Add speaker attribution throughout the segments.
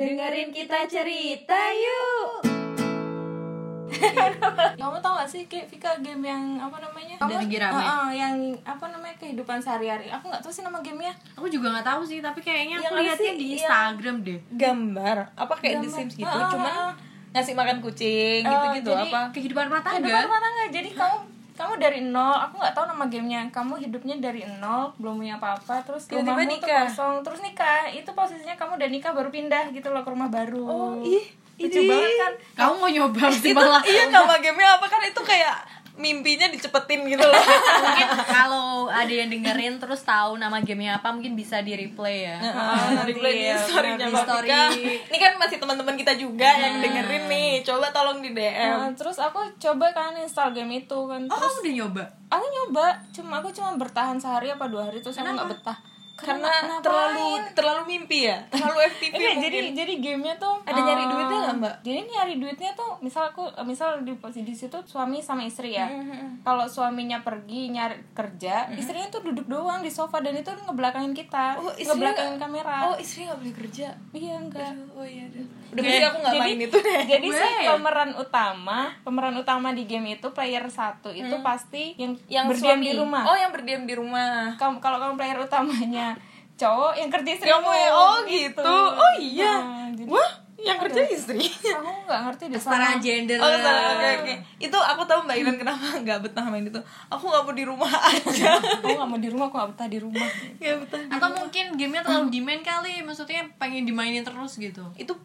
Speaker 1: Dengerin kita cerita yuk.
Speaker 2: Kamu tau gak sih kayak Vika game yang apa namanya?
Speaker 3: Kamu lagi rame.
Speaker 4: ya?
Speaker 2: Heeh, yang apa namanya kehidupan sehari-hari. Aku nggak tahu sih nama gamenya.
Speaker 3: Aku juga nggak tahu sih, tapi kayaknya
Speaker 1: Yang
Speaker 3: aku lihatnya
Speaker 1: isi-
Speaker 3: di
Speaker 1: yang-
Speaker 3: Instagram deh.
Speaker 4: gambar apa kayak di Sims gitu cuman ngasih makan kucing gitu-gitu
Speaker 2: jadi-
Speaker 4: apa
Speaker 3: Kehidupan rumah
Speaker 4: kan?
Speaker 2: Kehidupan
Speaker 3: tangga.
Speaker 2: rumah tangga. Jadi kamu kamu dari nol, aku nggak tahu nama gamenya. Kamu hidupnya dari nol, belum punya apa-apa, terus
Speaker 4: Tiba-tiba
Speaker 2: rumahmu tuh
Speaker 4: nikah.
Speaker 2: kosong, terus nikah. Itu posisinya kamu udah nikah baru pindah gitu loh ke rumah baru. Oh,
Speaker 4: ih,
Speaker 2: Lucu
Speaker 4: ih.
Speaker 2: banget kan?
Speaker 3: Kamu mau nyoba sih malah.
Speaker 4: iya nama gamenya apa kan itu kayak mimpinya dicepetin gitu loh
Speaker 3: mungkin kalau ada yang dengerin terus tahu nama gamenya apa mungkin bisa di replay ya
Speaker 4: Ah, replay di story-nya
Speaker 3: di
Speaker 4: Mbak
Speaker 3: story.
Speaker 4: Vika. Ini kan masih teman-teman kita juga yang dengerin nih. Coba tolong di DM.
Speaker 2: Nah, terus aku coba kan install game itu kan.
Speaker 3: oh kamu udah nyoba
Speaker 2: aku nyoba cuma aku cuma bertahan sehari apa dua hari terus aku nggak betah
Speaker 4: Karena terlalu terlalu mimpi ya. Terlalu FTP
Speaker 2: Enggak,
Speaker 4: mungkin.
Speaker 2: jadi jadi gamenya tuh
Speaker 4: Ada nyari
Speaker 2: eh,
Speaker 4: duitnya nggak, Mbak?
Speaker 2: Jadi nyari duitnya tuh misal aku eh, misal di posisi situ suami sama istri ya.
Speaker 4: Mm-hmm.
Speaker 2: Kalau suaminya pergi nyari kerja, istrinya tuh duduk doang di sofa dan itu ngebelakangin kita,
Speaker 4: Oh, istrinya
Speaker 2: ngebelakangin kamera.
Speaker 4: Oh, istri gak boleh kerja.
Speaker 2: iya enggak.
Speaker 4: Oh iya. deh. Udah pasti aku gak
Speaker 2: Jadi-
Speaker 4: main itu deh. ya?
Speaker 2: Jadi si pemeran utama, pemeran utama di game itu player satu itu pasti yang, berdiam di rumah.
Speaker 4: Mm. Oh, yang berdiam di rumah.
Speaker 2: Kamu- kalau kamu player utamanya cowok yang kerja istri
Speaker 4: Kamu ya, oh gitu. Oh iya.
Speaker 2: Nah, jadi
Speaker 4: Wah, yang kerja istri.
Speaker 2: aku nggak ngerti deh
Speaker 3: setara
Speaker 2: sama
Speaker 3: gender
Speaker 4: Oh, salah. Oke, oke. Itu aku tahu Mbak Iren kenapa nggak betah main itu. Aku nggak mau di rumah aja.
Speaker 2: aku nggak mau di rumah aku nggak betah di rumah
Speaker 4: Nggak betah.
Speaker 3: atau mungkin gamenya terlalu demand kali maksudnya pengen dimainin terus gitu
Speaker 4: Itu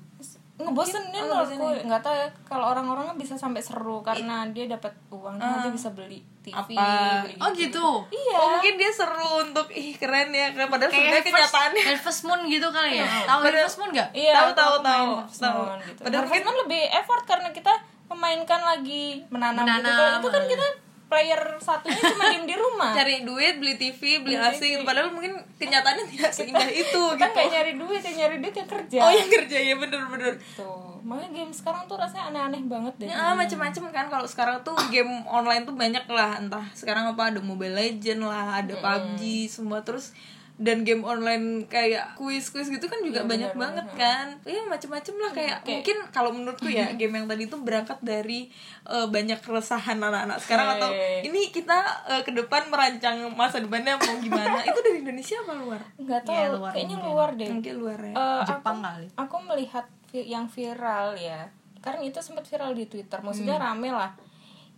Speaker 2: ngebosenin loh aku nggak tahu ya kalau orang-orang kan bisa sampai seru karena dia dapat uang dia nanti bisa beli TV
Speaker 4: Apa?
Speaker 2: beli-
Speaker 3: oh gitu
Speaker 2: iya
Speaker 4: Oh mungkin dia seru untuk ih keren ya keren. padahal sebenarnya
Speaker 3: kayak Harvest-
Speaker 4: kenyataannya
Speaker 3: Harvest Moon gitu kali ya tahu Harvest Moon nggak
Speaker 2: iya
Speaker 4: tahu,
Speaker 2: aku
Speaker 4: tahu,
Speaker 2: main
Speaker 4: tahu,
Speaker 2: Harvest
Speaker 4: tahu.
Speaker 2: Moon gitu.
Speaker 4: Padahal
Speaker 2: Harvest Moon lebih effort karena kita memainkan lagi menanam, gitu
Speaker 3: Menanam,
Speaker 2: Kalau itu kan kita player satunya cuma diem di rumah
Speaker 4: cari duit beli TV beli AC gitu padahal mungkin kenyataannya tidak seindah itu
Speaker 2: kita
Speaker 4: gitu
Speaker 2: nggak nyari duit yang nyari duit yang kerja
Speaker 4: oh yang kerja ya bener-bener
Speaker 2: tuh makanya game sekarang tuh rasanya aneh-aneh banget deh
Speaker 4: Ya, macem-macem kan kalau sekarang tuh game online tuh banyak lah entah sekarang apa ada Mobile Legend lah ada PUBG semua terus dan game online kayak kuis-kuis gitu kan
Speaker 2: Iya,
Speaker 4: juga banyak banget kan iya macem-macem lah
Speaker 2: Mm,
Speaker 4: kayak mungkin kalau menurutku ya game yang tadi tuh berangkat dari eh, banyak keresahan anak-anak sekarang atau
Speaker 2: Iya,
Speaker 4: ini kita eh, ke depan merancang masa depannya mau gimana itu dari Indonesia apa luar
Speaker 2: nggak tahu kayaknya luar deh
Speaker 4: mungkin luar ya
Speaker 2: Eh,
Speaker 3: Jepang
Speaker 2: aku,
Speaker 3: kali.
Speaker 2: aku melihat vi- yang viral ya karena itu sempat viral di Twitter maksudnya
Speaker 4: Hmm.
Speaker 2: rame lah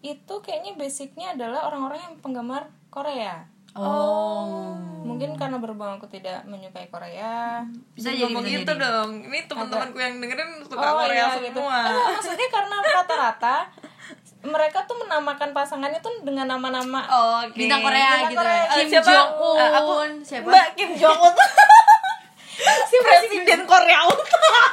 Speaker 2: itu kayaknya basicnya adalah orang-orang yang penggemar Korea
Speaker 3: oh
Speaker 2: mungkin karena berhubung aku tidak menyukai Korea
Speaker 3: bisa jadi
Speaker 4: ngomong
Speaker 3: bisa
Speaker 4: gitu
Speaker 3: jadi
Speaker 4: dong ini teman-temanku yang dengerin suka
Speaker 2: Oh,
Speaker 4: Korea
Speaker 2: iya, gitu.
Speaker 4: semua
Speaker 2: Eh, maksudnya karena rata-rata mereka tuh menamakan pasangannya tuh dengan nama-nama
Speaker 4: Oke.
Speaker 3: bintang Korea
Speaker 2: Bintang
Speaker 3: gitu
Speaker 2: Korea.
Speaker 3: ya.
Speaker 4: Eh,
Speaker 3: Kim
Speaker 4: siapa?
Speaker 3: Jong
Speaker 4: Eh, aku-
Speaker 3: Un siapa
Speaker 4: Mbak Kim Jong Un si presiden Korea Utara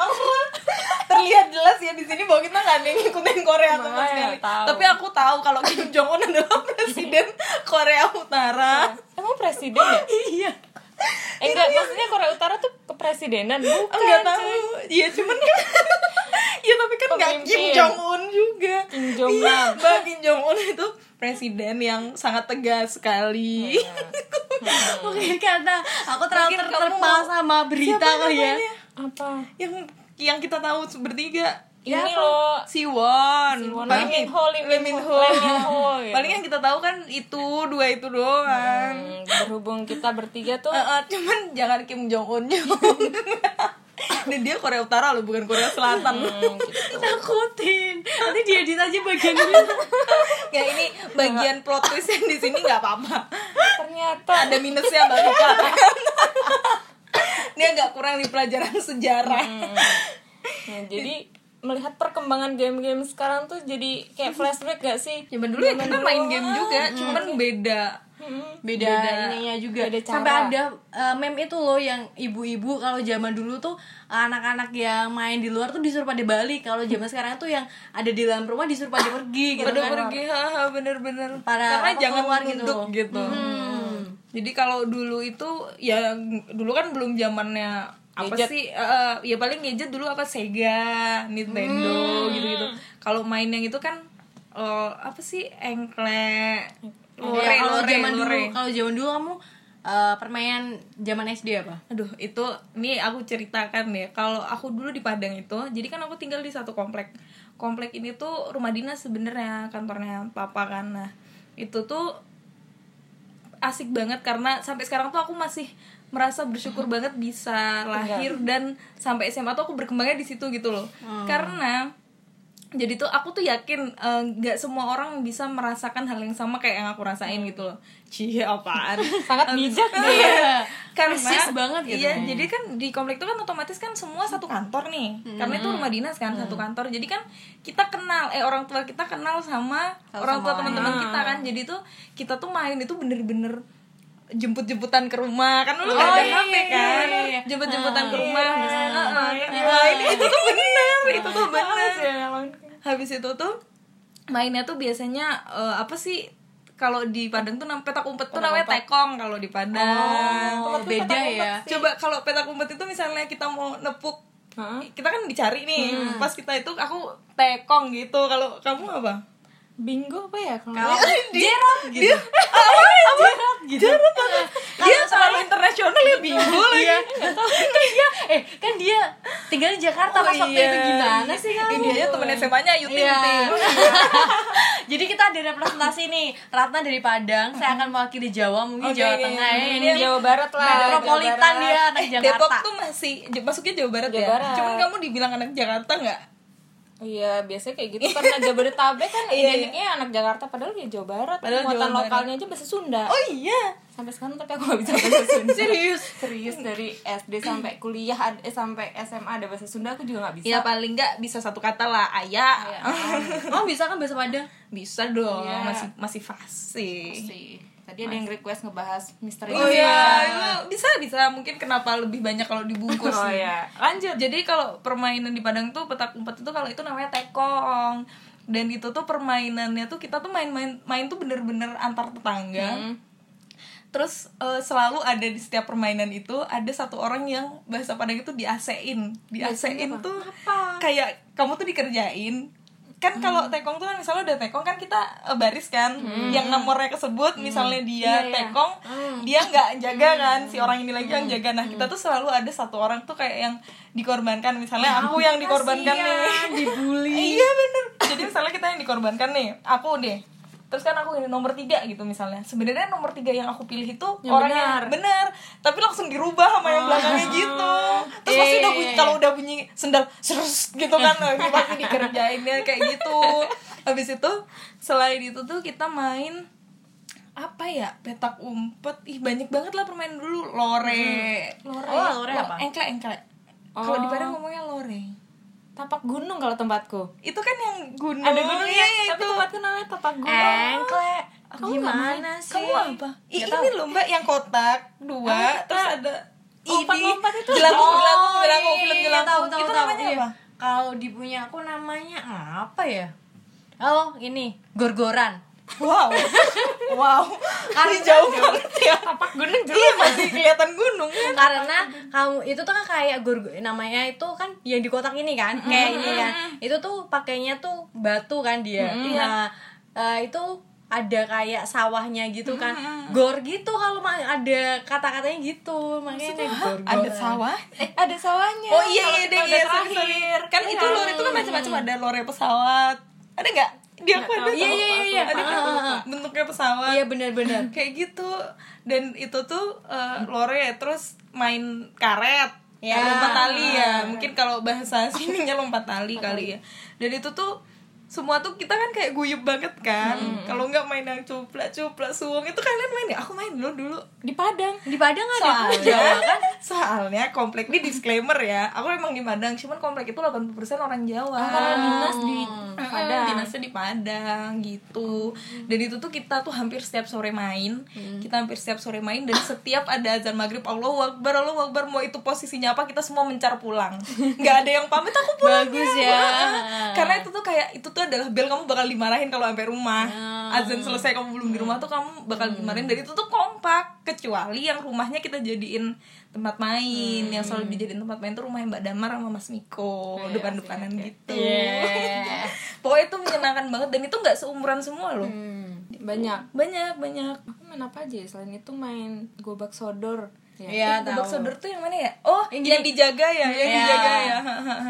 Speaker 4: terlihat jelas ya di sini bahwa kita nggak ada yang ngikutin Korea sama
Speaker 2: Makanya
Speaker 4: sekali
Speaker 2: tahu.
Speaker 4: tapi aku tahu kalau Kim Jong Un adalah presiden Korea Utara
Speaker 2: emang presiden ya
Speaker 4: iya
Speaker 2: eh, enggak maksudnya Korea Utara tuh kepresidenan bukan
Speaker 4: nggak
Speaker 2: Kan, cuy.
Speaker 4: tahu iya cuman kan ya tapi kan nggak
Speaker 2: Pemimpin.
Speaker 4: Kim Jong Un juga
Speaker 2: Kim Jong
Speaker 4: iya
Speaker 2: Nam.
Speaker 4: Mbak Kim Jong Un itu presiden yang sangat tegas sekali
Speaker 3: mungkin karena aku terlalu
Speaker 4: Mungkin
Speaker 3: ter-
Speaker 4: kamu-
Speaker 3: terpal sama berita
Speaker 4: Siapa
Speaker 3: kali ya
Speaker 4: namanya?
Speaker 2: apa
Speaker 4: yang yang kita tahu bertiga
Speaker 2: ini loh
Speaker 4: Siwon,
Speaker 2: Siwon,
Speaker 4: paling
Speaker 2: Lee Min Ho, Lee Min
Speaker 4: Lee Min
Speaker 2: Ho,
Speaker 4: Ho.
Speaker 2: Lee Min Ho, gitu.
Speaker 4: paling yang kita tahu kan itu dua itu doang
Speaker 2: Hmm, berhubung kita bertiga tuh
Speaker 4: Eh, eh, cuman jangan Kim Jong Un dan dia Korea Utara loh bukan Korea Selatan
Speaker 3: takutin nanti diedit aja bagian ini
Speaker 4: ya ini bagian plot twist yang di sini nggak apa-apa
Speaker 2: ternyata
Speaker 4: ada minusnya mbak Vika ini agak kurang di pelajaran sejarah
Speaker 2: Nah, jadi melihat perkembangan game-game sekarang tuh jadi kayak flashback gak sih
Speaker 4: zaman dulu Hmm. ya kita main game juga cuman beda
Speaker 3: beda, ininya juga
Speaker 2: beda cara.
Speaker 3: sampai ada eh, meme itu loh yang ibu-ibu kalau zaman dulu tuh anak-anak yang main di luar tuh disuruh pada balik kalau zaman sekarang tuh yang ada di dalam rumah disuruh pada pergi gitu
Speaker 4: pada
Speaker 3: kan
Speaker 4: pergi haha bener-bener
Speaker 3: Para
Speaker 4: karena
Speaker 3: apa,
Speaker 4: jangan
Speaker 3: keluar gitu. Hmm.
Speaker 4: nunduk gitu, jadi kalau dulu itu ya dulu kan belum zamannya apa sih eh, ya paling gadget dulu apa Sega Nintendo
Speaker 3: Hmm.
Speaker 4: gitu-gitu kalau main yang itu kan eh, apa sih engklek
Speaker 3: Iya,
Speaker 4: lore
Speaker 3: kalau
Speaker 4: lore
Speaker 3: Oh, zaman dulu
Speaker 4: lore
Speaker 3: kalau zaman dulu kamu eh, permainan zaman SD apa?
Speaker 4: Aduh, itu ini aku ceritakan ya. Kalau aku dulu di Padang itu, jadi kan aku tinggal di satu komplek. Komplek ini tuh rumah dinas sebenarnya, kantornya papa kan. Nah, itu tuh asik banget karena sampai sekarang tuh aku masih merasa bersyukur banget bisa lahir dan sampai SMA tuh aku berkembangnya di situ gitu loh.
Speaker 2: Hmm.
Speaker 4: Karena jadi tuh aku tuh yakin eh, nggak semua orang bisa merasakan hal yang sama kayak yang aku rasain gitu loh. Cie apaan?
Speaker 2: Hmm.
Speaker 4: iya.
Speaker 2: sangat bijak deh
Speaker 4: karena
Speaker 3: Persis banget gitu.
Speaker 4: iya jadi kan di komplek itu kan otomatis kan semua satu kantor nih
Speaker 3: Hmm.
Speaker 4: karena itu rumah dinas kan satu kantor jadi kan kita kenal eh orang tua kita kenal sama orang tua teman-teman kita kan
Speaker 3: Hmm.
Speaker 4: jadi tuh kita tuh main itu bener-bener jemput-jemputan ke rumah kan lu nggak ada
Speaker 3: iya,
Speaker 4: HP kan
Speaker 3: iya, iya.
Speaker 4: jemput-jemputan ke rumah misalnya "Ah, ah, ah, ini
Speaker 3: Hmm.
Speaker 4: itu tuh bener itu tuh bener habis itu tuh mainnya tuh biasanya eh, apa sih kalau di Padang tuh nam- petak umpet tuh namanya tekong kalau di Padang
Speaker 3: Oh, beda ya.
Speaker 4: coba kalau petak umpet itu misalnya kita mau nepuk kita kan dicari nih pas kita itu aku tekong gitu kalau kamu apa
Speaker 2: bingo apa ya kalau
Speaker 3: Kalau
Speaker 4: jerot gitu dia, apa jerot gitu jerot banget. dia terlalu internasional ya bingung lagi
Speaker 3: Iya. kan dia eh kan dia tinggal di Jakarta pas waktu itu gimana sih kamu?
Speaker 4: ini aja temen SMA nya Ayu Ting
Speaker 3: Iya.
Speaker 4: Ting
Speaker 3: Jadi kita ada representasi nih. Ratna dari Padang, saya akan mewakili Jawa, mungkin
Speaker 4: Oke,
Speaker 3: Jawa
Speaker 4: iya,
Speaker 3: Tengah
Speaker 4: iya,
Speaker 3: ya.
Speaker 4: iya.
Speaker 3: Ini
Speaker 4: Jawa
Speaker 2: Barat
Speaker 3: metropolitan dia anak
Speaker 4: Eh, Depok
Speaker 3: Jakarta.
Speaker 4: tuh masih j- masuknya Jawa Barat
Speaker 2: Jawa
Speaker 4: ya
Speaker 2: Barat.
Speaker 4: cuman kamu dibilang anak Jakarta nggak
Speaker 2: Iya, biasanya kayak gitu karena Jabodetabek kan
Speaker 4: Iya,
Speaker 2: identiknya anak Jakarta padahal ya Jawa Barat.
Speaker 4: Padahal
Speaker 2: muatan
Speaker 4: Jawa Barat.
Speaker 2: lokalnya aja bahasa Sunda.
Speaker 4: oh iya
Speaker 2: Sampai sekarang tapi aku gak bisa bahasa Sunda.
Speaker 4: serius
Speaker 2: Serius dari SD sampai kuliah ad- eh, sampai SMA ada bahasa Sunda aku juga gak bisa.
Speaker 4: ya paling nggak bisa satu kata lah ayah
Speaker 3: Oh, bisa kan bahasa Padang?
Speaker 4: bisa dong
Speaker 2: Iya.
Speaker 4: masih masih fasih
Speaker 2: Sih. Tadi ada yang request ngebahas misteri.
Speaker 4: Oh iya, itu bisa bisa mungkin kenapa lebih banyak kalau dibungkus.
Speaker 2: Oh iya. Lanjut.
Speaker 4: Jadi kalau permainan di Padang tuh petak umpet itu kalau itu namanya tekong. Dan itu tuh permainannya tuh kita tuh main-main main tuh bener-bener antar tetangga.
Speaker 2: Hmm.
Speaker 4: Terus eh, selalu ada di setiap permainan itu ada satu orang yang bahasa Padang itu diasein. Diasein tuh kayak kamu tuh dikerjain kan kalau tekong tuh kan misalnya udah tekong kan kita eh, baris kan yang nomornya kesebut misalnya dia tekong dia nggak jaga kan si orang ini lagi yang jaga nah kita tuh selalu ada satu orang tuh kayak yang dikorbankan misalnya aku yang dikorbankan nih dibully iya bener jadi misalnya kita yang dikorbankan nih aku deh terus kan aku ini nomor tiga gitu misalnya sebenarnya nomor tiga yang aku pilih itu orang yang benar tapi langsung dirubah sama yang belakangnya gitu terus pasti udah bunyi kalau udah bunyi sendal serus gitu kan nah, ini pasti dikerjainnya kayak gitu habis itu selain itu tuh kita main apa ya petak umpet ih banyak banget lah permainan dulu lore lore
Speaker 3: Oh, lore apa?
Speaker 4: engklek engklek kalau di Padang ngomongnya lore
Speaker 2: Tapak gunung kalau tempatku.
Speaker 4: itu kan yang gunung
Speaker 2: Ada gunungnya,
Speaker 4: Iya,
Speaker 2: tapi tempatku namanya tapak gunung.
Speaker 3: Engkle.
Speaker 2: Kamu gimana sih?
Speaker 4: Kamu apa? Ih, ini loh mbak yang kotak dua, terus ada
Speaker 2: Lompat-lompat itu.
Speaker 4: jelangkung jelangkung jelangkung
Speaker 3: iya,
Speaker 4: film
Speaker 3: iya,
Speaker 4: jelangkung.
Speaker 3: tahu, tahu,
Speaker 4: itu
Speaker 3: tahu,
Speaker 4: namanya
Speaker 3: iya.
Speaker 4: apa?
Speaker 3: Kalau di punya aku namanya apa ya? Oh, ini gorgoran.
Speaker 4: Wow, wow, ini jauh banget ya.
Speaker 2: Tapak gunung juga.
Speaker 4: Iya masih kelihatan gunung kan?
Speaker 3: karena kamu itu tuh kan kayak gorgo namanya itu kan yang di kotak ini kan kayak ini kan itu tuh pakainya tuh batu kan dia nah eh, itu ada kayak sawahnya gitu kan gor gitu kalau ma- ada kata-katanya gitu makanya gor
Speaker 4: Ada sawah.
Speaker 2: Eh, ada sawahnya.
Speaker 4: Oh iya iya
Speaker 2: Kalau
Speaker 4: deh iya
Speaker 2: kita udah
Speaker 4: sorry,
Speaker 2: terakhir. Iya.
Speaker 4: sorry. Kan itu lore itu kan macam-macam ada lore pesawat. Ada nggak? Dia aku ada.
Speaker 3: Iya,
Speaker 4: tahu.
Speaker 3: iya, iya, iya.
Speaker 4: Ada kan
Speaker 3: Ah, ah, ah.
Speaker 4: bentuknya pesawat.
Speaker 3: iya benar-benar
Speaker 4: kayak gitu dan itu tuh eh, lore terus main karet ya lompat tali ya mungkin kalau bahasa sininya lompat tali kali ya dan itu tuh semua tuh kita kan kayak guyup banget kan kalau nggak main yang cuplak cuplak suwung itu kalian main ya aku main dulu dulu
Speaker 2: Di Padang.
Speaker 3: di Padang ada punya Jawa
Speaker 4: Soalnya,
Speaker 3: kan
Speaker 4: soalnya komplek ini disclaimer ya aku emang di Padang cuman komplek itu 80% orang Jawa
Speaker 2: Karena dinas di
Speaker 4: Padang. Dinasnya di Padang gitu. Dan itu tuh kita tuh hampir setiap sore main. Kita hampir setiap sore main dan setiap ada azan maghrib Allah Akbar, Allah Akbar mau itu posisinya apa kita semua mencar pulang. nggak ada yang pamit aku pulang.
Speaker 3: Bagus ya.
Speaker 4: Karena itu tuh kayak itu tuh adalah bel kamu bakal dimarahin kalau sampai rumah.
Speaker 3: Nah.
Speaker 4: Azan selesai kamu belum di rumah tuh kamu bakal
Speaker 3: Hmm.
Speaker 4: dimarahin dan itu tuh kompak kecuali yang rumahnya kita jadiin tempat main yang
Speaker 3: Hmm.
Speaker 4: selalu dijadiin tempat main tuh rumah Mbak Damar sama Mas
Speaker 3: Oh,
Speaker 4: Miko
Speaker 3: iya
Speaker 4: depan-depanan
Speaker 3: Hmm.
Speaker 4: gitu. Pokoknya itu menyenangkan banget dan itu nggak seumuran semua loh.
Speaker 2: banyak
Speaker 4: Banyak, banyak.
Speaker 2: Aku main apa aja ya? selain itu main gobak sodor ya
Speaker 3: Iya,
Speaker 4: Gobak
Speaker 3: tahu.
Speaker 4: sodor tuh yang mana ya? Oh, yang, dijaga ya, yang
Speaker 3: Iya.
Speaker 4: dijaga ya.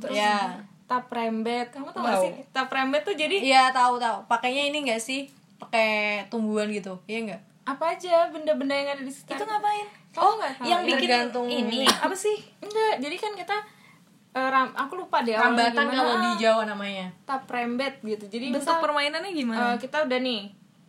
Speaker 2: terus
Speaker 3: Iya.
Speaker 2: tap rembet kamu tau gak
Speaker 4: Wow.
Speaker 2: sih tap rembet tuh jadi
Speaker 3: Iya, tahu tahu. Pakainya ini enggak sih? Pakai tumbuhan gitu. Iya enggak?
Speaker 2: apa aja benda-benda yang ada di sekitar
Speaker 4: itu ngapain?
Speaker 2: oh nggak tahu
Speaker 4: yang bikin
Speaker 3: Kan Tergantung
Speaker 4: ini apa sih?
Speaker 2: enggak jadi kan kita eh, ram- aku lupa
Speaker 3: Ya,
Speaker 2: deh awalnya
Speaker 3: Rambatan
Speaker 2: gimana.
Speaker 3: kalau di Jawa namanya.
Speaker 2: tap rembet gitu jadi
Speaker 4: Bentuk
Speaker 2: misal,
Speaker 4: permainannya gimana? Uh-uh.
Speaker 2: eh, kita udah nih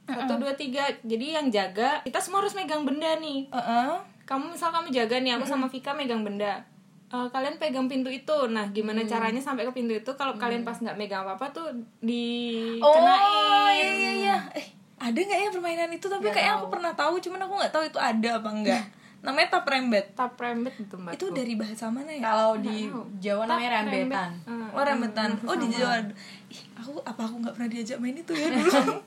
Speaker 2: satu dua tiga jadi yang jaga kita semua harus megang benda nih
Speaker 3: Eh,
Speaker 4: Heeh.
Speaker 2: kamu misal kamu jaga nih aku
Speaker 4: Uh-uh.
Speaker 2: sama Vika megang benda Eh, kalian pegang pintu itu nah
Speaker 4: Hmm.
Speaker 2: gimana caranya sampai ke pintu itu kalau kalian pas nggak megang apa apa tuh
Speaker 4: Oh,
Speaker 2: dikenain
Speaker 4: iya iya iya. Eh, ada nggak ya permainan itu? Tapi kayaknya aku pernah tahu, cuman aku nggak tahu itu ada apa enggak. Namanya tap rembet.
Speaker 2: tap rembet gitu mbak
Speaker 4: Itu dari bahasa mana ya?
Speaker 3: Kalau di Jawa namanya rambetan.
Speaker 4: Oh, rembetan. Oh, di Jawa. Ih, aku apa aku nggak pernah diajak main itu ya dulu?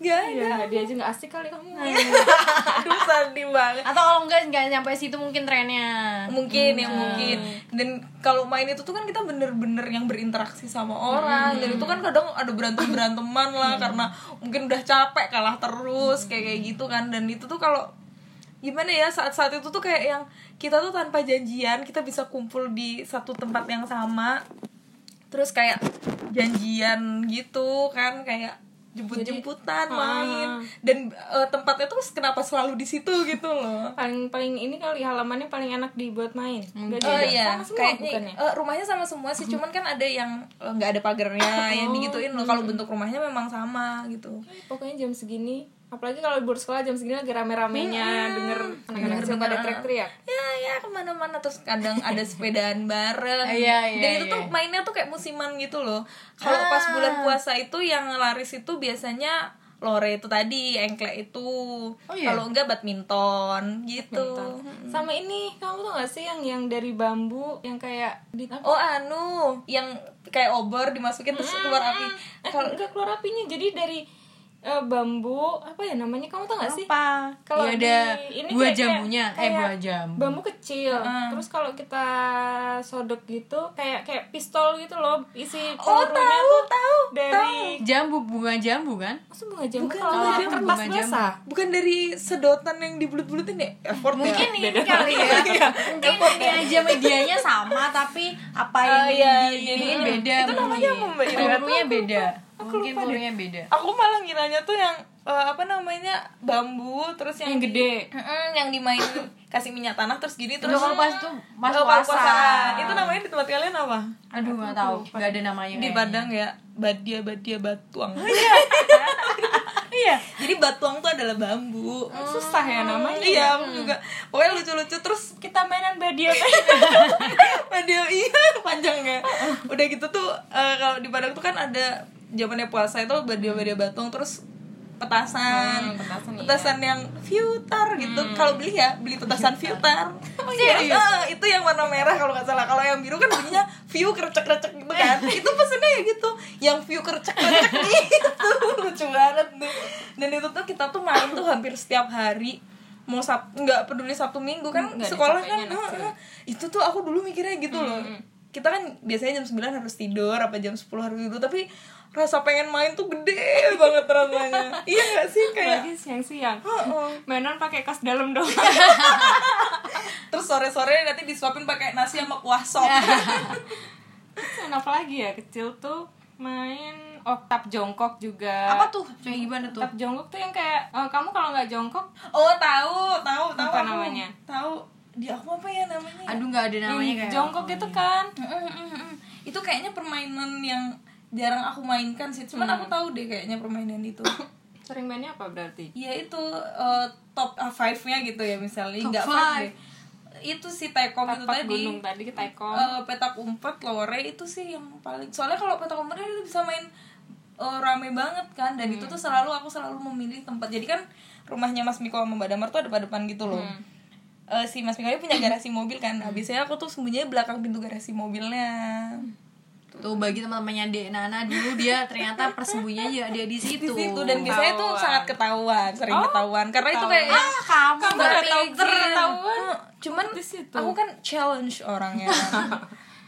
Speaker 4: Gak ada. Iya.
Speaker 2: ya dia aja nggak asik kali kamu
Speaker 4: Aduh, sedih banget.
Speaker 3: Atau kalau enggak enggak nyampe situ mungkin trennya.
Speaker 4: mungkin ya mungkin dan kalau main itu tuh kan kita bener-bener yang berinteraksi sama orang dan itu kan kadang ada berantem beranteman lah karena mungkin udah capek kalah terus kayak kayak gitu kan dan itu tuh kalau gimana ya saat-saat itu tuh kayak yang kita tuh tanpa janjian kita bisa kumpul di satu tempat yang sama terus kayak janjian gitu kan kayak jemput-jemputan main dan eh, tempatnya tuh kenapa selalu di situ gitu loh
Speaker 2: paling paling ini kali halamannya paling enak dibuat main Nggak
Speaker 4: Oh
Speaker 2: juga.
Speaker 4: iya,
Speaker 2: sama semua bukan
Speaker 4: kayaknya
Speaker 2: ya?
Speaker 4: eh, rumahnya sama semua sih, cuman kan ada yang eh, nggak ada pagarnya, yang digituin loh. Kalau bentuk rumahnya memang sama gitu.
Speaker 2: pokoknya jam segini apalagi kalau libur sekolah jam segini lagi rame-ramenya denger anak-anak
Speaker 3: Iya,
Speaker 2: kecil pada teriak-teriak
Speaker 4: Ya ya kemana-mana terus kadang ada sepedaan bareng.
Speaker 3: Iya, iya,
Speaker 4: Dan itu tuh mainnya tuh kayak musiman gitu loh. Kalau pas bulan puasa itu yang laris itu biasanya lore itu tadi, engklek itu. Kalau enggak badminton gitu.
Speaker 2: sama ini kamu tuh gak sih yang yang dari bambu yang kayak di apa?
Speaker 4: Oh anu, yang kayak obor dimasukin terus keluar api.
Speaker 2: Eh, nggak keluar apinya jadi dari eh, bambu apa ya namanya kamu tau gak sih
Speaker 3: Apa?
Speaker 2: Kalau di-
Speaker 3: Iya, ada
Speaker 2: ini kayak-
Speaker 3: buah
Speaker 2: kayak-
Speaker 3: jambunya, eh
Speaker 2: kayak
Speaker 3: buah jambu.
Speaker 2: bambu kecil terus kalau kita sodok gitu kayak kayak pistol gitu loh isi
Speaker 3: Oh,
Speaker 2: pelurunya tuh
Speaker 4: Oh, tahu,
Speaker 2: dari
Speaker 3: Jambu bunga jambu kan?
Speaker 2: Maksud bunga jambu kalau kertas
Speaker 3: bunga jambu.
Speaker 2: basah
Speaker 4: bukan dari sedotan yang dibulut-bulutin ya effort
Speaker 3: Mungkin ini kali ya. Mungkin ini aja medianya sama tapi apa
Speaker 4: Ah,
Speaker 3: yang
Speaker 4: iya,
Speaker 3: di- diiniin beda.
Speaker 4: Itu namanya apa, Mbak Ira?
Speaker 3: Pelurunya beda.
Speaker 2: Aku
Speaker 3: Mungkin
Speaker 2: lupa deh.
Speaker 3: pelurunya beda.
Speaker 4: aku malah ngiranya tuh yang eh, apa namanya bambu terus yang,
Speaker 2: yang
Speaker 4: di-
Speaker 2: gede
Speaker 4: Mm-mm, yang dimain kasih minyak tanah terus gini terus
Speaker 3: Terus kalau pas itu mas
Speaker 4: Oh, pas
Speaker 3: puasa.
Speaker 4: puasaan. itu namanya di tempat kalian apa
Speaker 3: Aduh nggak tahu, nggak ada namanya.
Speaker 4: di
Speaker 3: kayaknya.
Speaker 4: Padang ya badia badia batuang iya jadi batuang tuh adalah bambu
Speaker 2: susah ya namanya
Speaker 4: iya aku juga pokoknya lucu-lucu terus
Speaker 2: kita mainan badia
Speaker 4: Padahal iya panjang ya. Udah gitu tuh eh, kalau di Padang tuh kan ada zamannya puasa itu badia-badia Batung terus petasan. Hmm, petasan iya. yang filter gitu. Kalau beli ya beli petasan filter. Oh iya. Eh, itu yang warna merah kalau nggak salah. Kalau yang biru kan bunyinya view kercek-kercek gitu kan. itu pesennya ya gitu. Yang view kercek-kercek gitu. Lucu banget tuh. Dan itu tuh kita tuh main tuh hampir setiap hari mau sab nggak peduli sabtu minggu kan sekolah kan eh, eh. itu tuh aku dulu mikirnya gitu loh kita kan biasanya jam 9 harus tidur apa jam 10 harus tidur tapi rasa pengen main tuh gede banget rasanya iya gak sih kayak
Speaker 2: lagi siang-siang
Speaker 4: Heeh.
Speaker 2: mainan pakai kas dalam doang
Speaker 4: terus sore sore nanti disuapin pakai nasi sama kuah sop
Speaker 2: Main apa lagi ya kecil tuh main oktap jongkok juga
Speaker 3: Apa tuh? Kayak gimana tuh?
Speaker 2: tap jongkok tuh yang kayak eh, kamu kalau nggak jongkok
Speaker 4: oh tahu tahu tahu
Speaker 2: Apa
Speaker 4: aku.
Speaker 2: namanya?
Speaker 4: tahu di aku apa ya namanya
Speaker 3: Aduh nggak ada namanya kayak.
Speaker 2: jongkok itu kan
Speaker 4: Mm-mm-mm. itu kayaknya permainan yang jarang aku mainkan sih cuman aku tahu deh kayaknya permainan itu
Speaker 2: sering mainnya apa berarti
Speaker 4: ya itu eh, top uh, five nya gitu ya misalnya
Speaker 3: Top
Speaker 4: nggak
Speaker 3: five.
Speaker 4: five deh. itu si tekom itu
Speaker 2: tapak
Speaker 4: tadi
Speaker 2: gunung tadi kita ekor
Speaker 4: Eh, petak umpet lore itu sih yang paling soalnya kalau petak umpet kan itu bisa main eh, rame banget kan dan
Speaker 3: Hmm.
Speaker 4: itu tuh selalu aku selalu memilih tempat jadi kan rumahnya Mas Miko sama Mbak Damar tuh ada pada depan gitu loh
Speaker 3: Hmm.
Speaker 4: Eh, si Mas Miko ini punya garasi mobil kan habisnya aku tuh sembunyinya belakang pintu garasi mobilnya
Speaker 3: Hmm. Tuh bagi teman-temannya Dek Nana dulu dia ternyata persembunyinya juga dia di situ.
Speaker 4: di situ dan biasanya tuh sangat ketahuan sering ketahuan karena itu kayak
Speaker 3: ah kamu nggak
Speaker 4: tahu
Speaker 3: pikir.
Speaker 4: ketahuan cuman aku kan challenge orangnya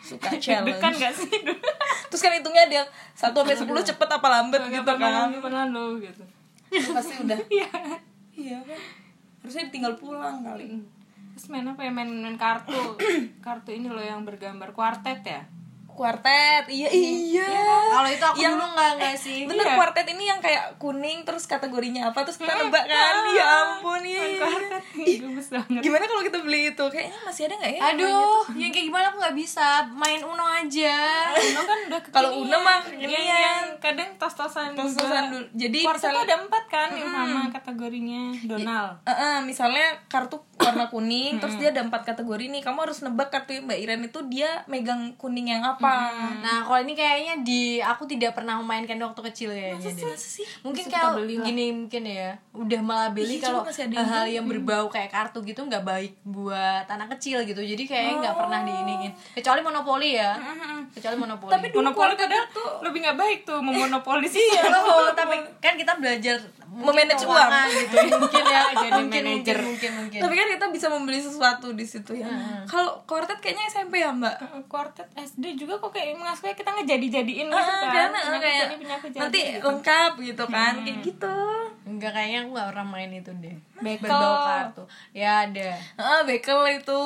Speaker 4: suka challenge
Speaker 2: kan nggak sih dulu
Speaker 4: terus kan hitungnya dia satu sampai sepuluh cepet apa lambat gitu kan
Speaker 2: pernah pernah lo gitu
Speaker 4: pasti udah iya iya kan harusnya tinggal pulang kali
Speaker 2: Terus main apa ya? Main, main kartu. kartu ini loh yang bergambar kuartet ya.
Speaker 4: kuartet iya iya
Speaker 3: Kalau itu aku dulu nggak nggak sih.
Speaker 4: bener
Speaker 2: Iya.
Speaker 4: kuartet ini yang kayak kuning terus kategorinya apa terus kita nebak kan ya ampun iya iya.
Speaker 2: Kuartet nih, gemes banget.
Speaker 4: gimana kalau kita beli itu kayaknya masih ada nggak ya
Speaker 3: Aduh, yang kayak gimana aku nggak bisa main Uno aja.
Speaker 2: Uno kan udah kekinian.
Speaker 4: Kalau Uno mah
Speaker 2: Iya,
Speaker 4: kekinian.
Speaker 2: iya. kadang tos-tosan juga.
Speaker 4: Tos-tosan dulu. Jadi
Speaker 2: kuartet tuh
Speaker 4: misalnya-
Speaker 2: ada empat kan yang sama kategorinya. Donald.
Speaker 4: Eh, eh, misalnya kartu warna kuning terus dia ada empat kategori nih kamu harus nebak kartu mbak Iren itu dia megang kuning yang apa
Speaker 3: Nah, kalau ini kayaknya di aku tidak pernah memainkan waktu kecil ya.
Speaker 4: sih
Speaker 3: Mungkin kalau gini mungkin ya, udah malah beli
Speaker 4: Iya,
Speaker 3: kalau
Speaker 4: coba masih ada yang
Speaker 3: hal yang berbau kayak kartu gitu nggak baik buat anak kecil gitu. Jadi
Speaker 4: Oh.
Speaker 3: kayaknya nggak pernah diiniin. Kecuali monopoli ya. Kecuali monopoli.
Speaker 4: Tapi Oh, dulu
Speaker 2: Monopoli
Speaker 4: kuartet
Speaker 2: kadang
Speaker 4: itu-
Speaker 2: lebih nggak baik tuh memonopoli sih.
Speaker 3: Iya, loh, tapi kan kita belajar
Speaker 4: Memanage
Speaker 3: keuangan
Speaker 4: uang.
Speaker 3: gitu mungkin ya jadi
Speaker 2: Mungkin,
Speaker 3: manajer
Speaker 2: mungkin,
Speaker 3: mungkin mungkin.
Speaker 4: tapi kan kita bisa membeli sesuatu di situ ya kalau kuartet kayaknya SMP ya mbak
Speaker 2: Kuartet SD juga kok kayak maksudnya kita ngejadi-jadiin gitu
Speaker 4: Ah,
Speaker 2: kan.
Speaker 4: karena
Speaker 2: Punya aku
Speaker 4: kayak
Speaker 2: jadi, punya aku jadi.
Speaker 4: nanti lengkap gitu kan kayak gitu
Speaker 3: Enggak kayaknya aku nggak pernah main itu deh.
Speaker 2: Bekel.
Speaker 3: Berbau kartu. Ya ada.
Speaker 4: ah bekel itu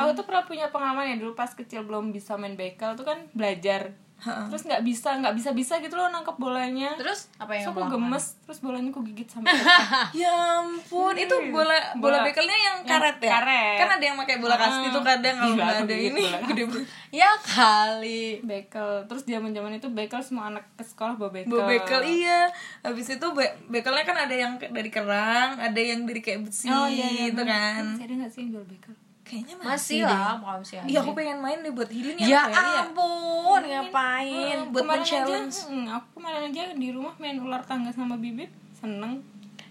Speaker 2: aku tuh pernah punya pengalaman ya dulu pas kecil belum bisa main bekel tuh kan belajar terus nggak bisa nggak bisa bisa gitu loh nangkep bolanya terus
Speaker 3: Terus apa
Speaker 2: aku
Speaker 3: yang kamu lakukan?
Speaker 2: gemes terus bolanya aku gigit sampai pecah.
Speaker 4: ya ampun itu bola bola
Speaker 2: Bola.
Speaker 4: bekelnya yang karet ya
Speaker 2: karet.
Speaker 4: kan ada yang pakai bola kasti tuh kadang kalau
Speaker 2: Gila,
Speaker 4: nggak
Speaker 2: aku
Speaker 4: ada
Speaker 2: gigit
Speaker 4: ini
Speaker 2: bola
Speaker 4: gede banget
Speaker 3: Ya kali.
Speaker 2: bekel terus zaman zaman itu bekel semua anak ke sekolah bawa bekel,
Speaker 4: Bawa bekel iya habis itu be- bekelnya kan ada yang ke- dari kerang ada yang dari kayak besi gitu kan
Speaker 2: Masih ada nggak sih yang jual bekel
Speaker 4: kayaknya mah
Speaker 3: Masih lah, kalau masih ada.
Speaker 4: iya aku pengen main deh buat healing ya,
Speaker 3: Ya
Speaker 4: Mbak Eli ya. Iya,
Speaker 3: ampun, ngapain?
Speaker 4: buat
Speaker 2: kemarin aja
Speaker 4: men-challenge.
Speaker 2: hmm, aku kemarin aja di rumah main ular tangga sama bibit seneng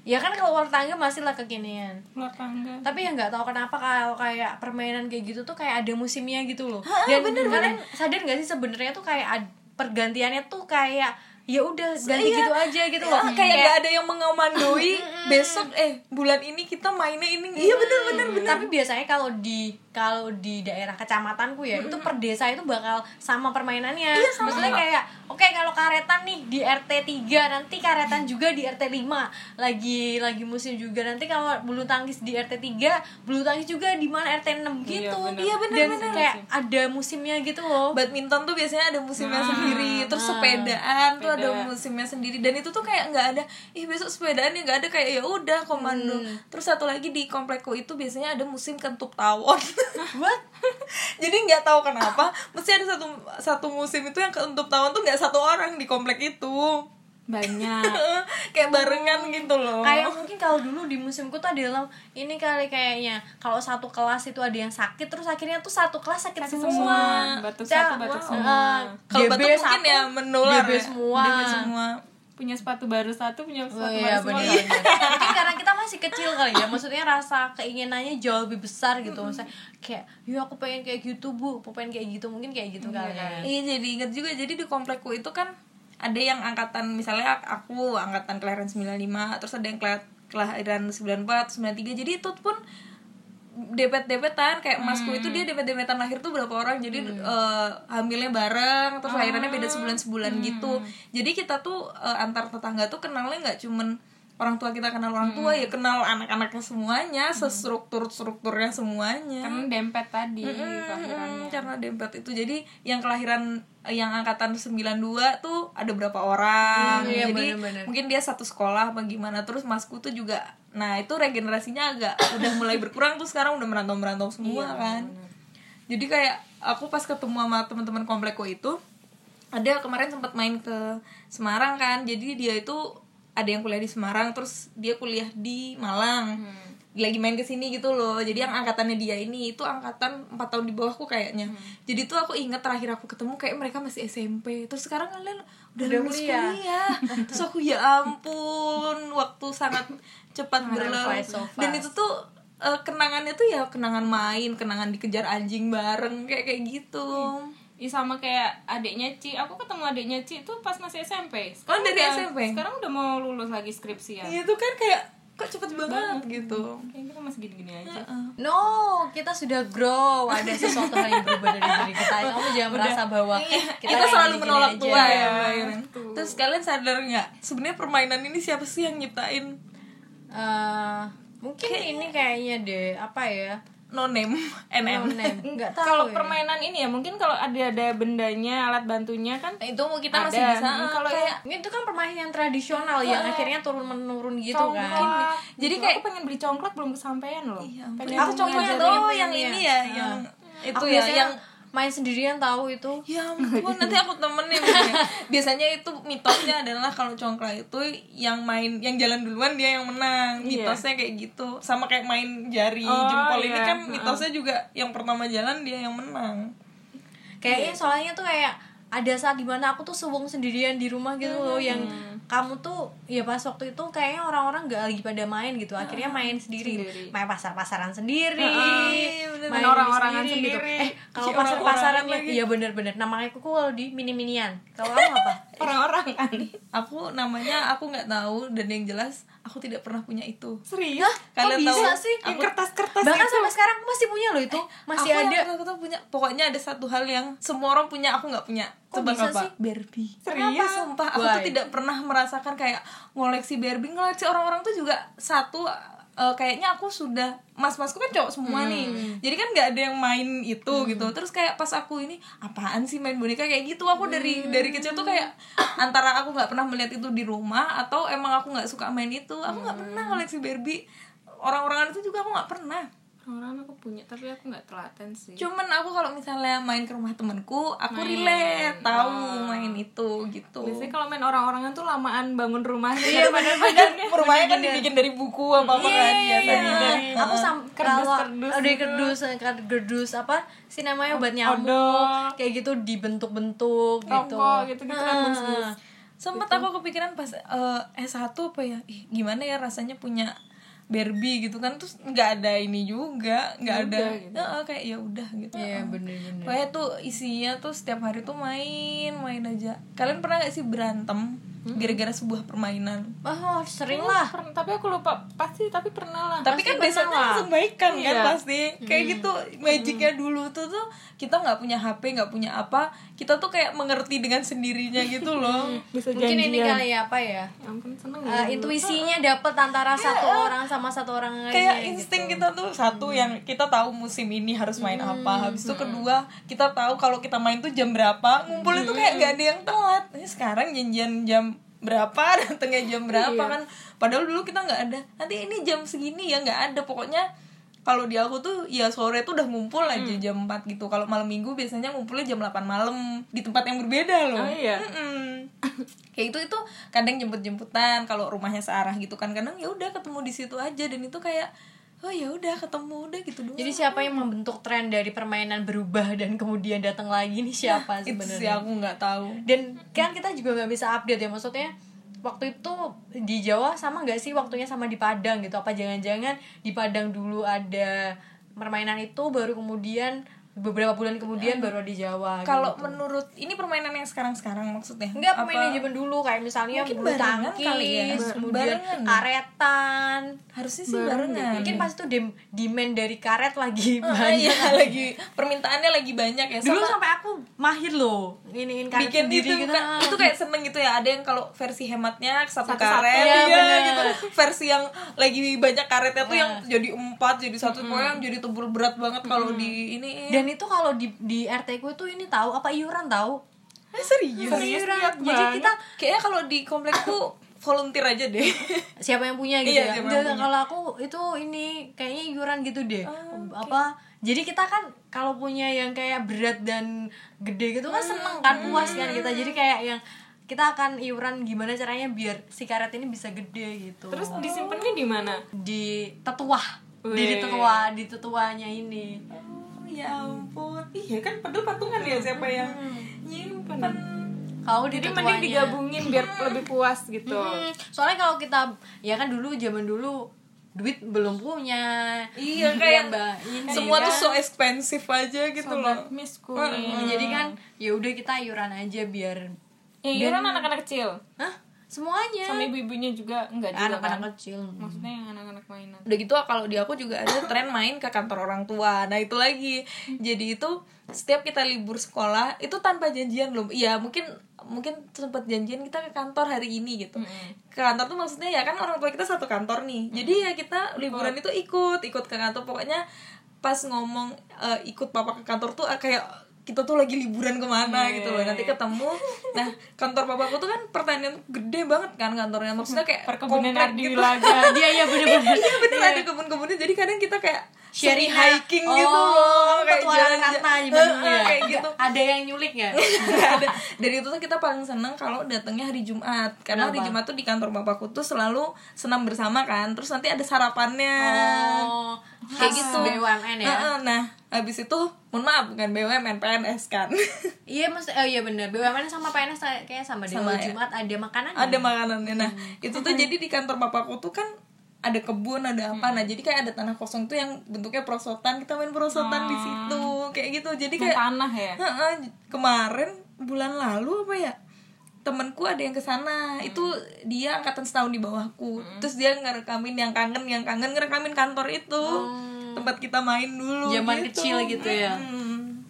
Speaker 3: Ya kan keluar tangga masih lah kekinian.
Speaker 2: ular tangga
Speaker 3: Tapi yang nggak tahu kenapa kalau kayak permainan kayak gitu tuh kayak ada musimnya gitu loh. Dan kalian sadar nggak sih sebenarnya tuh kayak ad- pergantiannya tuh kayak ya udah ganti gitu aja gitu loh.
Speaker 4: Ah, kayak gak ada yang mengamandoi besok eh bulan ini kita mainnya ini iya bener bener
Speaker 3: Hmm, Tapi biasanya kalau di kalau di daerah kecamatanku ya,
Speaker 4: Hmm.
Speaker 3: itu per desa itu bakal sama permainannya.
Speaker 4: Iya,
Speaker 3: Maksudnya kayak oke kalau karetan nih di RT 3, nanti karetan juga di RT 5. Lagi lagi musim juga nanti kalau bulu tangkis di RT 3, bulu tangkis juga di mana
Speaker 4: Iya,
Speaker 3: RT 6 gitu.
Speaker 2: benar.
Speaker 3: Dan kayak ada musimnya gitu
Speaker 4: Oh,
Speaker 3: loh.
Speaker 4: badminton tuh biasanya ada musimnya
Speaker 3: Ah,
Speaker 4: sendiri terus sepedaan tuh ada musimnya sendiri dan itu tuh kayak nggak ada ih besok sepedaan ya nggak ada kayak ya udah komando
Speaker 3: Hmm.
Speaker 4: terus satu lagi di komplekku itu biasanya ada musim kentut tawon
Speaker 3: What?
Speaker 4: jadi nggak tahu kenapa mesti ada satu satu musim itu yang kentut tawon tuh nggak satu orang di komplek itu
Speaker 2: banyak
Speaker 4: kayak barengan gitu loh
Speaker 3: Oh. kayak mungkin kalau dulu di musimku tuh ada yang ini kali kayaknya kalau satu kelas itu ada yang sakit terus akhirnya tuh satu kelas sakit, semua.
Speaker 2: Batuk
Speaker 3: Saya-
Speaker 2: satu, batuk
Speaker 3: Wah,
Speaker 2: semua.
Speaker 3: eh,
Speaker 4: kalau
Speaker 3: DB
Speaker 4: batuk mungkin
Speaker 3: satu,
Speaker 4: ya menular
Speaker 3: DB
Speaker 4: ya.
Speaker 3: semua.
Speaker 4: DB semua
Speaker 2: punya sepatu baru satu punya sepatu
Speaker 3: Oh
Speaker 2: baru
Speaker 3: iya
Speaker 2: semua
Speaker 3: benar. Mungkin karena kita masih kecil kali ya, maksudnya rasa keinginannya jauh lebih besar gitu. Maksudnya kayak, "Ya aku pengen kayak gitu, Bu. Aku pengen kayak gitu." Mungkin kayak gitu kali ya.
Speaker 4: Iya jadi inget juga jadi di komplekku itu kan ada yang angkatan misalnya aku angkatan kelahiran 95 terus ada yang kela- kelahiran 94 93 jadi itu pun depet-depetan kayak masku itu dia depet-depetan lahir tuh berapa orang jadi eh, hamilnya bareng terus lahirannya beda sebulan-sebulan gitu jadi kita tuh eh, antar tetangga tuh kenalnya nggak cuman orang tua kita kenal orang tua ya kenal anak-anaknya semuanya sestruktur-strukturnya semuanya
Speaker 2: kan dempet tadi
Speaker 4: Hmm,
Speaker 2: kelahirannya.
Speaker 4: karena dempet itu jadi yang kelahiran eh, yang angkatan 92 tuh ada berapa orang
Speaker 3: iya,
Speaker 4: jadi
Speaker 3: bener-bener.
Speaker 4: mungkin dia satu sekolah apa gimana terus masku tuh juga nah itu regenerasinya agak udah mulai berkurang tuh sekarang udah merantau merantau semua kan jadi kayak aku pas ketemu sama teman-teman komplekku itu ada kemarin sempat main ke Semarang kan jadi dia itu ada yang kuliah di Semarang terus dia kuliah di Malang lagi main ke sini gitu loh jadi yang angkatannya dia ini itu angkatan 4 tahun di bawahku kayaknya jadi tuh aku inget terakhir aku ketemu kayak mereka masih SMP terus sekarang kalian udah, lulus kuliah, Iya. terus aku ya ampun waktu sangat cepat berlalu
Speaker 3: flies so
Speaker 4: dan itu tuh eh, kenangannya tuh ya kenangan main kenangan dikejar anjing bareng kayak kayak gitu
Speaker 2: Ih sama kayak adiknya Ci. Aku ketemu adiknya Ci itu pas masih SMP.
Speaker 4: Oh, dari
Speaker 2: udah-
Speaker 4: SMP?
Speaker 2: Sekarang udah mau lulus lagi skripsi ya.
Speaker 4: Iya tuh kan kayak kok cepet banget gitu
Speaker 2: Kayaknya kita masih gini-gini aja.
Speaker 3: No, kita sudah grow. Ada sesuatu hal yang berubah dari diri kita. Kamu jangan merasa bahwa kita,
Speaker 4: kita,
Speaker 3: kayak
Speaker 4: selalu
Speaker 3: gini-gini
Speaker 4: menolak
Speaker 3: aja.
Speaker 4: tua ya Mbak Iren. terus kalian sadar nggak sebenarnya permainan ini siapa sih yang nyiptain
Speaker 3: Eh, mungkin ini kayaknya deh apa ya?
Speaker 4: no name
Speaker 3: No
Speaker 4: nm
Speaker 3: name. Enggak tahu.
Speaker 2: Kalau
Speaker 3: ya.
Speaker 2: permainan ini ya mungkin kalau ada ada bendanya, alat bantunya kan
Speaker 4: Nah,
Speaker 3: Eh,
Speaker 4: itu kita masih
Speaker 2: Ada.
Speaker 4: bisa eh,
Speaker 2: Kalau
Speaker 4: kayak
Speaker 3: itu kan permainan tradisional yang akhirnya turun menurun gitu kan. Iya,
Speaker 2: congklak.
Speaker 4: Jadi
Speaker 2: Jadi
Speaker 4: kayak-
Speaker 2: kayak aku pengen beli congklak belum kesampaian loh. pengen
Speaker 3: Aku cuma
Speaker 2: ngajarin.
Speaker 3: tahu
Speaker 4: oh yang ini ya yang itu
Speaker 3: Ah. Aku
Speaker 4: ya
Speaker 3: biasanya
Speaker 4: yang
Speaker 3: main sendirian tahu itu.
Speaker 4: ya ampun nanti aku temenin biasanya itu mitosnya adalah kalau congklak itu yang main yang jalan duluan dia yang menang mitosnya kayak gitu sama kayak main jari
Speaker 2: Iya. Oh,
Speaker 4: jempol ini
Speaker 2: iya.
Speaker 4: kan mitosnya juga yang pertama jalan dia yang menang
Speaker 3: Kayaknya soalnya tuh kayak ada saat dimana aku tuh sewong sendirian di rumah gitu loh yang
Speaker 4: Hmm.
Speaker 3: kamu tuh ya pas waktu itu kayaknya orang-orang gak lagi pada main gitu akhirnya main sendiri, main pasar-pasaran sendiri main
Speaker 2: orang-orangan
Speaker 3: gitu.
Speaker 2: sendiri.
Speaker 3: eh kalau
Speaker 4: Si
Speaker 3: pasar-pasaran
Speaker 4: orang-orangan
Speaker 3: ya bener-bener namanya aku kalau di mini-minian kalau kamu apa
Speaker 2: Orang-orang kan.
Speaker 4: aku namanya aku nggak tahu dan yang jelas aku tidak pernah punya itu
Speaker 2: Serius?
Speaker 4: kalian
Speaker 3: bisa
Speaker 4: tahu
Speaker 3: sih?
Speaker 2: Yang kertas-kertas
Speaker 3: bahkan sampai sekarang Eh, aku masih punya loh itu masih
Speaker 4: aku
Speaker 3: ada
Speaker 4: yang aku tuh punya pokoknya ada satu hal yang semua orang punya aku nggak punya
Speaker 3: Kok
Speaker 4: Tebak
Speaker 3: bisa
Speaker 4: apa?
Speaker 3: sih?
Speaker 4: Barbie kenapa
Speaker 2: Serius?
Speaker 4: sumpah aku tuh
Speaker 3: Why?
Speaker 4: tidak pernah merasakan kayak ngoleksi Barbie ngoleksi orang-orang tuh juga satu eh, kayaknya aku sudah mas-masku kan cowok
Speaker 3: Hmm.
Speaker 4: semua nih jadi kan nggak ada yang main itu gitu terus kayak pas aku ini apaan sih main boneka kayak gitu aku dari
Speaker 3: Hmm.
Speaker 4: dari kecil tuh kayak antara aku nggak pernah melihat itu di rumah atau emang aku nggak suka main itu aku nggak
Speaker 3: Hmm.
Speaker 4: pernah ngoleksi Barbie orang-orangan itu juga aku nggak pernah
Speaker 2: Orang-orang aku punya tapi aku nggak telaten sih.
Speaker 4: cuman aku kalau misalnya main ke rumah temenku aku relate tahu main itu gitu
Speaker 2: Biasanya kalau main orang-orangan tuh lamaan bangun rumah gitu,
Speaker 4: iya benar-benar rumahnya kan dibikin dari buku apa apa kan biasanya dari
Speaker 3: aku sam
Speaker 2: Kerdus-
Speaker 3: kalau
Speaker 2: kerdus
Speaker 3: ada kerdus kerdus, eh, apa sih namanya obat nyamuk
Speaker 2: odol.
Speaker 3: kayak gitu dibentuk-bentuk gitu
Speaker 2: rokok gitu-gitu kan bungkus.
Speaker 4: sempet aku kepikiran pas eh, S1 apa ya ih gimana ya rasanya punya Barbie gitu kan terus nggak ada ini juga nggak ada Heeh, kayak ya udah gitu
Speaker 3: Iya bener-bener
Speaker 4: Pokoknya tuh isinya tuh setiap hari tuh main, main aja. Kalian pernah gak sih berantem gara-gara sebuah permainan?
Speaker 3: Oh sering lah
Speaker 2: Per- tapi aku lupa pasti tapi pernah lah.
Speaker 4: tapi kan besoknya langsung baikan kan pasti kayak gitu magicnya dulu tuh tuh kita nggak punya HP nggak punya apa kita tuh kayak mengerti dengan sendirinya gitu loh
Speaker 2: Bisa
Speaker 3: Mungkin
Speaker 2: janjian.
Speaker 3: ini kali ya apa ya
Speaker 2: Ya ampun seneng
Speaker 3: Eh, Intuisinya dapet antara satu orang sama satu orang
Speaker 2: Iya,
Speaker 3: lainnya
Speaker 2: gitu.
Speaker 4: kayak insting kita tuh satu
Speaker 2: Hmm.
Speaker 4: yang kita tahu musim ini harus main apa habis itu kedua kita tahu kalau kita main tuh jam berapa ngumpul itu
Speaker 2: Hmm.
Speaker 4: kayak nggak ada yang telat ini sekarang janjian jam berapa datangnya jam berapa
Speaker 2: Iya.
Speaker 4: kan padahal dulu kita nggak ada nanti ini jam segini ya nggak ada pokoknya kalau di aku tuh ya sore tuh udah ngumpul aja
Speaker 2: Hmm.
Speaker 4: jam 4 gitu kalau malam minggu biasanya ngumpulnya jam 8 malam di tempat yang berbeda loh
Speaker 2: Oh iya.
Speaker 4: Mm-mm. kayak itu itu kadang jemput jemputan kalau rumahnya searah gitu kan kadang ya udah ketemu di situ aja dan itu kayak oh ya udah ketemu udah gitu doang
Speaker 3: Jadi siapa yang membentuk tren dari permainan berubah Dan kemudian datang lagi nih siapa
Speaker 4: itu
Speaker 3: sebenarnya
Speaker 4: sih aku nggak tahu
Speaker 3: dan kan kita juga nggak bisa update ya maksudnya waktu itu di Jawa sama nggak sih waktunya sama di Padang gitu apa jangan-jangan di Padang dulu ada permainan itu baru kemudian beberapa bulan kemudian baru di Jawa
Speaker 4: Iya.
Speaker 3: gitu.
Speaker 4: kalau menurut ini permainan yang sekarang sekarang maksudnya
Speaker 3: Enggak
Speaker 4: Apa-
Speaker 3: permainan zaman dulu kayak misalnya
Speaker 4: Mungkin
Speaker 3: bulu
Speaker 4: barengan kali ya. Nah, iya.
Speaker 3: tangkis,
Speaker 4: Bar-
Speaker 3: kemudian
Speaker 4: barengan.
Speaker 3: karetan.
Speaker 4: harusnya sih barengan
Speaker 3: Mungkin pas itu dem- demand dari karet lagi
Speaker 4: Ah,
Speaker 3: banyak.
Speaker 4: iya, lagi permintaannya lagi banyak ya
Speaker 3: Dulu
Speaker 4: sama-
Speaker 3: sampai aku mahir loh nginiin karet
Speaker 4: bikin
Speaker 3: sendiri
Speaker 4: itu
Speaker 3: gitu.
Speaker 4: kan itu kayak seneng gitu ya ada yang kalau versi hematnya satu, karet
Speaker 3: Iya,
Speaker 4: iya,
Speaker 3: bener.
Speaker 4: gitu versi yang lagi banyak karetnya tuh yang jadi empat jadi satu pokoknya yang jadi tebul berat banget kalau di ini
Speaker 3: Dan itu kalau di di RT ku itu ini tahu apa iuran tahu?
Speaker 4: Eh, serius
Speaker 3: Iuran.
Speaker 2: lihat
Speaker 3: Jadi
Speaker 2: banget.
Speaker 3: kita
Speaker 4: kayaknya kalau di komplekku volunteer aja deh
Speaker 3: siapa yang punya gitu
Speaker 4: Iya,
Speaker 3: ya.
Speaker 4: siapa
Speaker 3: Enggak,
Speaker 4: yang punya. Oh,
Speaker 3: kalau aku itu ini kayaknya iuran gitu deh. Apa jadi kita kan kalau punya yang kayak berat dan gede gitu
Speaker 4: Hmm,
Speaker 3: kan seneng kan puas kan kita. Jadi kayak yang kita akan iuran gimana caranya biar si karet ini bisa gede gitu.
Speaker 2: Terus disimpannya di mana?
Speaker 3: di tetuah. Di
Speaker 2: Wih.
Speaker 3: tetua, di tetuanya ini.
Speaker 4: oh, ya ampun iya kan padahal patungan ya siapa yang nyimpen
Speaker 3: Kalau di
Speaker 2: Jadi
Speaker 3: tetuanya.
Speaker 2: mending digabungin biar lebih puas gitu.
Speaker 3: Hmm, soalnya kalau kita ya kan dulu zaman dulu duit belum punya.
Speaker 4: iya kayak
Speaker 3: Ditambahin,
Speaker 4: semua
Speaker 3: ya
Speaker 4: tuh
Speaker 3: kan?
Speaker 4: so expensive aja gitu loh
Speaker 2: Sobat misku.
Speaker 3: Hmm. kan Jadi kan ya udah kita iuran aja biar
Speaker 2: Ya, iuran iya kan anak-anak kecil.
Speaker 3: Hah? semuanya
Speaker 2: sama ibu-ibunya juga enggak juga kan?
Speaker 3: anak-anak kecil
Speaker 2: maksudnya yang anak-anak mainan
Speaker 4: udah gitu kalau di aku juga ada tren main ke kantor orang tua nah itu lagi jadi itu setiap kita libur sekolah itu tanpa janjian loh iya mungkin mungkin sempat janjian kita ke kantor hari ini gitu ke kantor tuh maksudnya ya kan orang tua kita satu kantor nih jadi ya kita liburan itu ikut ikut ke kantor pokoknya pas ngomong eh, ikut papa ke kantor tuh eh, kayak kita tuh lagi liburan kemana gitu loh nanti ketemu nah kantor papaku tuh kan pertanian gede banget kan kantornya maksudnya kayak
Speaker 2: perkebunan
Speaker 4: komplek
Speaker 2: Ardi
Speaker 4: gitu.
Speaker 2: Wilaga
Speaker 3: dia ya bener-bener
Speaker 4: iya bener ada kebun-kebunnya jadi kadang kita kayak
Speaker 3: Sharing Oh,
Speaker 4: sharing hiking gitu loh kayak
Speaker 3: petualangan
Speaker 4: jalan-jalan.
Speaker 3: kata di
Speaker 4: Heeh,
Speaker 3: Bandung ya.
Speaker 4: kayak gitu Eh,
Speaker 3: ada yang nyulik nggak
Speaker 4: Ada. dari itu tuh kita paling seneng kalau datangnya hari Jumat karena hari Jumat tuh di kantor bapakku tuh selalu senam bersama kan terus nanti ada sarapannya
Speaker 3: oh kayak gitu BUMN ya
Speaker 4: Heeh, nah habis itu mohon maaf bukan BUMN PNS kan
Speaker 3: iya mas oh iya bener BUMN sama PNS kayak sama deh
Speaker 4: Sama
Speaker 3: Kalau
Speaker 4: ya.
Speaker 3: Jumat ada makanan
Speaker 4: ada makanannya nah
Speaker 3: Hmm.
Speaker 4: itu tuh jadi di kantor bapakku tuh kan ada kebun ada
Speaker 3: Hmm.
Speaker 4: apa nah jadi kayak ada tanah kosong tuh yang bentuknya perosotan kita main perosotan
Speaker 3: Hmm.
Speaker 4: di situ kayak gitu jadi kayak
Speaker 2: tanah ya
Speaker 4: Heeh, kemarin bulan lalu apa ya temanku ada yang kesana
Speaker 3: Hmm.
Speaker 4: itu dia angkatan setahun di bawahku terus dia ngerekamin yang kangen yang kangen ngerekamin kantor itu tempat kita main dulu
Speaker 3: Oh. Zaman kecil gitu ya.
Speaker 4: Mm.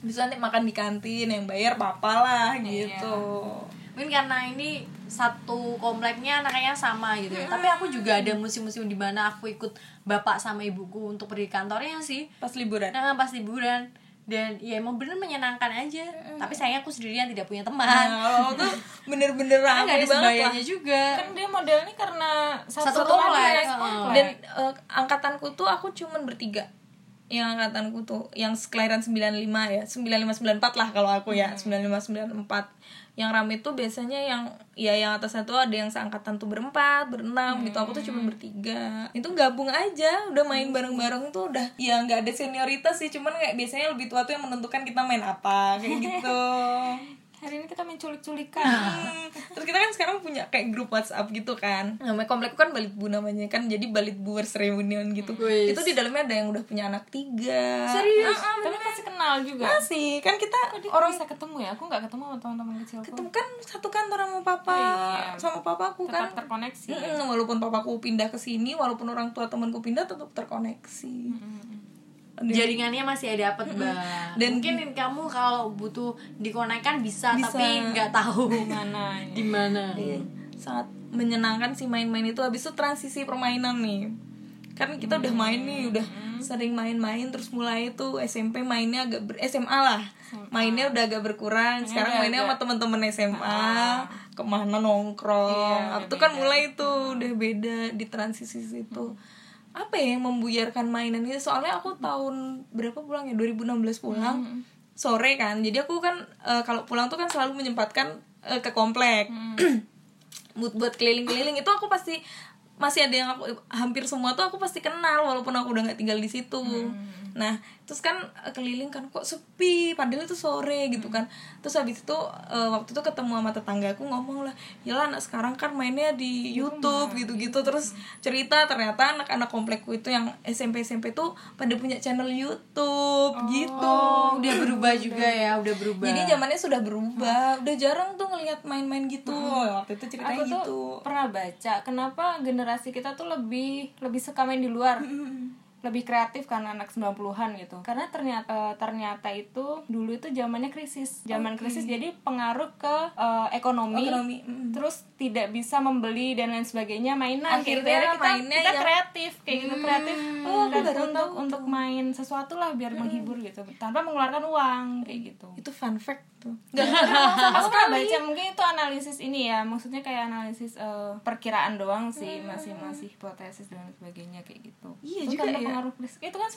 Speaker 4: bisa nanti makan di kantin yang bayar papa lah
Speaker 3: Iya.
Speaker 4: gitu
Speaker 3: mungkin karena ini satu kompleknya anaknya sama gitu ya tapi aku juga ada musim-musim di mana aku ikut bapak sama ibuku untuk pergi kantornya sih
Speaker 4: pas liburan
Speaker 3: nah pas liburan dan ya emang bener menyenangkan aja tapi sayangnya aku sendirian tidak punya
Speaker 4: nah
Speaker 3: teman
Speaker 4: kalau tuh bener-bener
Speaker 3: Karena Kan
Speaker 4: rame
Speaker 3: nggak
Speaker 4: banget
Speaker 3: ada
Speaker 4: lah
Speaker 3: sebayanya juga
Speaker 2: kan dia modelnya karena
Speaker 3: Satu
Speaker 2: satu, satu
Speaker 3: komplek, heeh.
Speaker 4: dan eh, angkatanku tuh aku cuman bertiga yang angkatanku tuh yang sekelahiran 95 ya 95 94 lah kalau aku ya 95 94 yang rame tuh biasanya yang ya yang atasnya tuh ada yang seangkatan tuh berempat berenam gitu aku tuh cuman bertiga itu gabung aja udah main bareng-bareng tuh udah ya nggak ada senioritas sih cuman kayak biasanya lebih tua tuh yang menentukan kita main apa kayak gitu
Speaker 2: hari ini kita menculik-culikan
Speaker 4: Hmm, terus kita kan sekarang punya kayak grup WhatsApp gitu kan namanya komplekku kan balit bu namanya kan jadi balit buers reunion gitu
Speaker 3: Wis.
Speaker 4: itu di dalamnya ada yang udah punya anak tiga
Speaker 3: serius
Speaker 2: Ah, tapi masih kenal juga
Speaker 4: masih kan kita
Speaker 2: orang bisa ketemu ya aku nggak ketemu sama teman-teman kecilku
Speaker 4: ketemu kan satu kantor sama papa sama papaku kan
Speaker 2: tetap terkoneksi
Speaker 4: Mm-mm, walaupun papaku pindah ke sini walaupun orang tua temanku pindah tetap terkoneksi Ada-
Speaker 3: jaringannya masih ada apa mbak
Speaker 4: Dan-
Speaker 3: mungkin kamu kalau butuh dikonekkan bisa,
Speaker 4: Bisa.
Speaker 3: tapi nggak tahu
Speaker 2: mana
Speaker 3: di mana
Speaker 4: Iya. sangat menyenangkan sih main-main itu habis itu transisi permainan nih kan kita udah main nih udah sering main-main terus mulai itu SMP mainnya agak ber SMA lah mainnya udah Ah. agak berkurang sekarang mainnya sama temen-temen SMA kemana nongkrong itu kan mulai itu udah beda di transisi situ apa ya yang membuyarkan mainan ini soalnya aku tahun berapa pulang ya 2016 pulang sore kan jadi aku kan eh, kalau pulang tuh kan selalu menyempatkan eh, ke komplek buat buat keliling-keliling itu aku pasti masih ada yang aku hampir semua tuh aku pasti kenal walaupun aku udah nggak tinggal di situ nah terus kan eh, keliling kan kok sepi padahal itu sore gitu
Speaker 2: Hmm.
Speaker 4: kan terus habis itu eh, waktu itu ketemu sama tetanggaku ngomong lah yalah anak sekarang kan mainnya di YouTube gitu-gitu terus
Speaker 2: Hmm.
Speaker 4: cerita ternyata anak-anak komplekku itu yang SMP SMP tuh pada punya channel YouTube gitu
Speaker 3: oh udah berubah juga ya udah berubah
Speaker 4: jadi zamannya sudah berubah udah jarang tuh ngelihat main-main gitu waktu itu ceritanya
Speaker 2: Hmm. aku tuh
Speaker 4: gitu
Speaker 2: pernah baca kenapa generasi kita tuh lebih lebih suka main di luar lebih kreatif kan anak 90-an gitu karena ternyata eh, ternyata itu dulu itu zamannya krisis zaman krisis jadi pengaruh ke eh, ekonomi,
Speaker 4: Ekonomi, mm.
Speaker 2: terus tidak bisa membeli dan lain sebagainya mainan Kayak gitu.
Speaker 4: Akhirnya
Speaker 2: Akhirnya kita,
Speaker 4: mainnya
Speaker 2: kita
Speaker 4: yang-
Speaker 2: kreatif kayak gitu kreatif
Speaker 4: Oh, aku
Speaker 2: kreatif
Speaker 4: baru Hmm.
Speaker 2: untuk untuk main sesuatu lah biar menghibur gitu tanpa mengeluarkan uang kayak gitu
Speaker 4: itu fun fact tuh
Speaker 2: Iya, aku pernah baca mungkin itu analisis ini ya maksudnya kayak analisis eh, perkiraan doang sih masih masih hipotesis dan lain sebagainya kayak gitu
Speaker 4: Hmm. Iya
Speaker 2: Itu
Speaker 4: juga
Speaker 2: karena
Speaker 4: ya. Hmm.
Speaker 2: pengaruh krisis. itu kan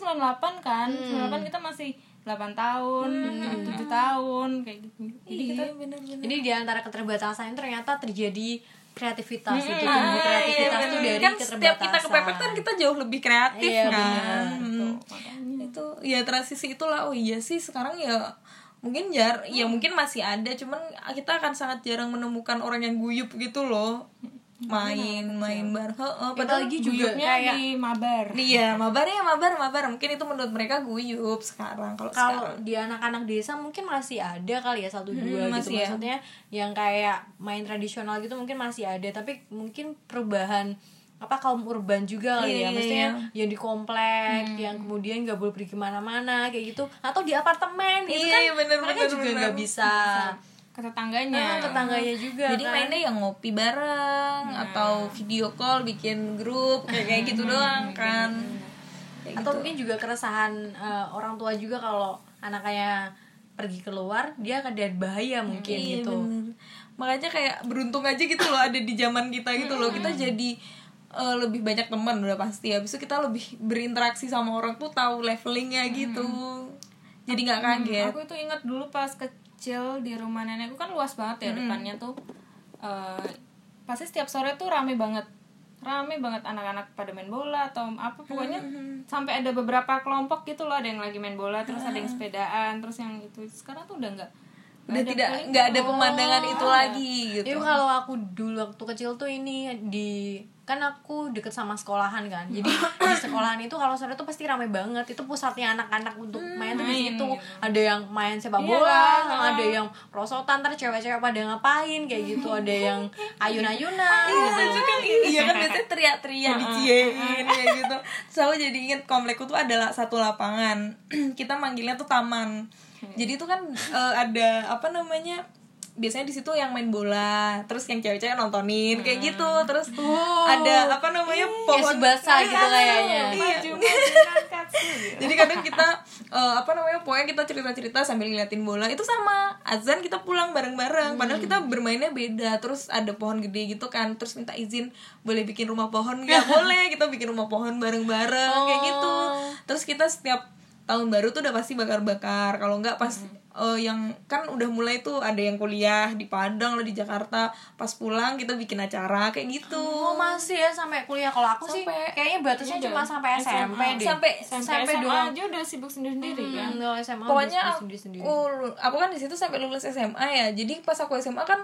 Speaker 2: 98 kan 98 kita masih 8 tahun 7 tahun kayak gitu jadi kita
Speaker 4: Iya, bener-bener
Speaker 3: Jadi di antara keterbatasan itu ternyata terjadi kreativitas itu tumbuh kreativitas itu dari
Speaker 4: Ah, iya, kan
Speaker 3: keterbatasan.
Speaker 4: setiap kita kepepet kan kita jauh lebih kreatif
Speaker 3: Iya,
Speaker 4: kan
Speaker 2: gitu,
Speaker 4: Hmm.
Speaker 2: makanya.
Speaker 4: itu ya transisi itulah oh iya sih sekarang ya mungkin jar
Speaker 3: Hmm.
Speaker 4: ya mungkin masih ada cuman kita akan sangat jarang menemukan orang yang guyup gitu loh main main bareng heeh
Speaker 2: Itu lagi guyupnya di mabar.
Speaker 4: Iya, mabar ya mabar mabar. Mungkin itu menurut mereka guyup sekarang kalau
Speaker 3: kalau
Speaker 4: sekarang.
Speaker 3: di anak-anak desa mungkin masih ada kali ya satu dua gitu
Speaker 4: masih ya.
Speaker 3: maksudnya yang kayak main tradisional gitu mungkin masih ada tapi mungkin perubahan apa kaum urban juga
Speaker 4: Iya,
Speaker 3: kali ya maksudnya yang di komplek
Speaker 4: Hmm.
Speaker 3: yang kemudian nggak boleh pergi kemana-mana kayak gitu atau di apartemen
Speaker 4: Iya,
Speaker 3: gitu kan
Speaker 4: iya, bener,
Speaker 3: mereka
Speaker 4: bener,
Speaker 3: juga
Speaker 4: bener.
Speaker 3: nggak bisa
Speaker 2: Ke tetangganya.
Speaker 3: tetangganya juga
Speaker 4: Jadi
Speaker 3: kan. Iya.
Speaker 4: mainnya yang ngopi bareng atau video call bikin grup kayak kayak
Speaker 3: Hmm,
Speaker 4: gitu doang kan. Kayak
Speaker 3: atau
Speaker 4: gitu.
Speaker 3: mungkin juga keresahan eh, orang tua juga kalau anaknya pergi keluar dia akan ada bahaya mungkin
Speaker 4: Iya,
Speaker 3: gitu
Speaker 4: bener. Makanya kayak beruntung aja gitu loh ada di zaman kita gitu loh. Kita jadi eh, lebih banyak teman udah pasti. Habis itu kita lebih berinteraksi sama orang tuh tahu levelingnya gitu. Jadi nggak kaget.
Speaker 2: Aku itu ingat dulu pas kecil di rumah nenekku kan luas banget ya depannya tuh. Eh, pasti setiap sore tuh rame banget. Rame banget anak-anak pada main bola atau apa pokoknya sampai ada beberapa kelompok gitu loh, ada yang lagi main bola, terus ada yang sepedaan, terus yang itu. Sekarang tuh udah enggak
Speaker 4: Udah tidak nggak ada pemandangan itu lagi gitu.
Speaker 3: Iya kalau aku dulu waktu kecil tuh ini di kan aku deket sama sekolahan kan. Jadi di sekolahan itu kalau sore tuh pasti ramai banget. Itu pusatnya anak-anak untuk
Speaker 4: Hmm,
Speaker 3: main tuh di situ.
Speaker 4: iya.
Speaker 3: Ada yang main sepak bola,
Speaker 4: kan?
Speaker 3: ada yang prosotan, ntar cewek-cewek pada ngapain kayak gitu. Ada yang ayun-ayunan gitu.
Speaker 4: Itu kan iya kan biasanya teriak-teriak diciein kayak gitu. Selalu jadi inget komplekku tuh ada la- satu lapangan. Kita manggilnya tuh taman. Jadi itu kan eh, ada apa namanya? Biasanya di situ yang main bola, terus yang cewek-cewek nontonin kayak gitu.
Speaker 3: Hmm.
Speaker 4: Terus
Speaker 3: Oh,
Speaker 4: ada apa namanya? pohon
Speaker 3: iya. basah gitu kayaknya.
Speaker 4: Iya. Jadi kadang kita eh, apa namanya pokoknya kita cerita-cerita sambil ngeliatin bola itu sama azan kita pulang bareng-bareng padahal kita bermainnya beda terus ada pohon gede gitu kan terus minta izin boleh bikin rumah pohon nggak boleh kita bikin rumah pohon bareng-bareng kayak gitu terus kita setiap tahun baru tuh udah pasti bakar-bakar kalau nggak pas eh, yang kan udah mulai tuh ada yang kuliah di Padang lah di Jakarta pas pulang kita bikin acara kayak gitu
Speaker 3: Oh masih ya sampai kuliah kalau aku sih kayaknya batasnya cuma sampai SMP deh.
Speaker 4: sampai
Speaker 2: Sampai,
Speaker 3: SMP doang.
Speaker 2: aja udah sibuk sendiri-sendiri kan.
Speaker 3: Enggak SMA
Speaker 4: pokoknya
Speaker 3: harus
Speaker 4: aku,
Speaker 3: sendiri-sendiri.
Speaker 4: aku kan di situ sampai lulus SMA ya jadi pas aku SMA kan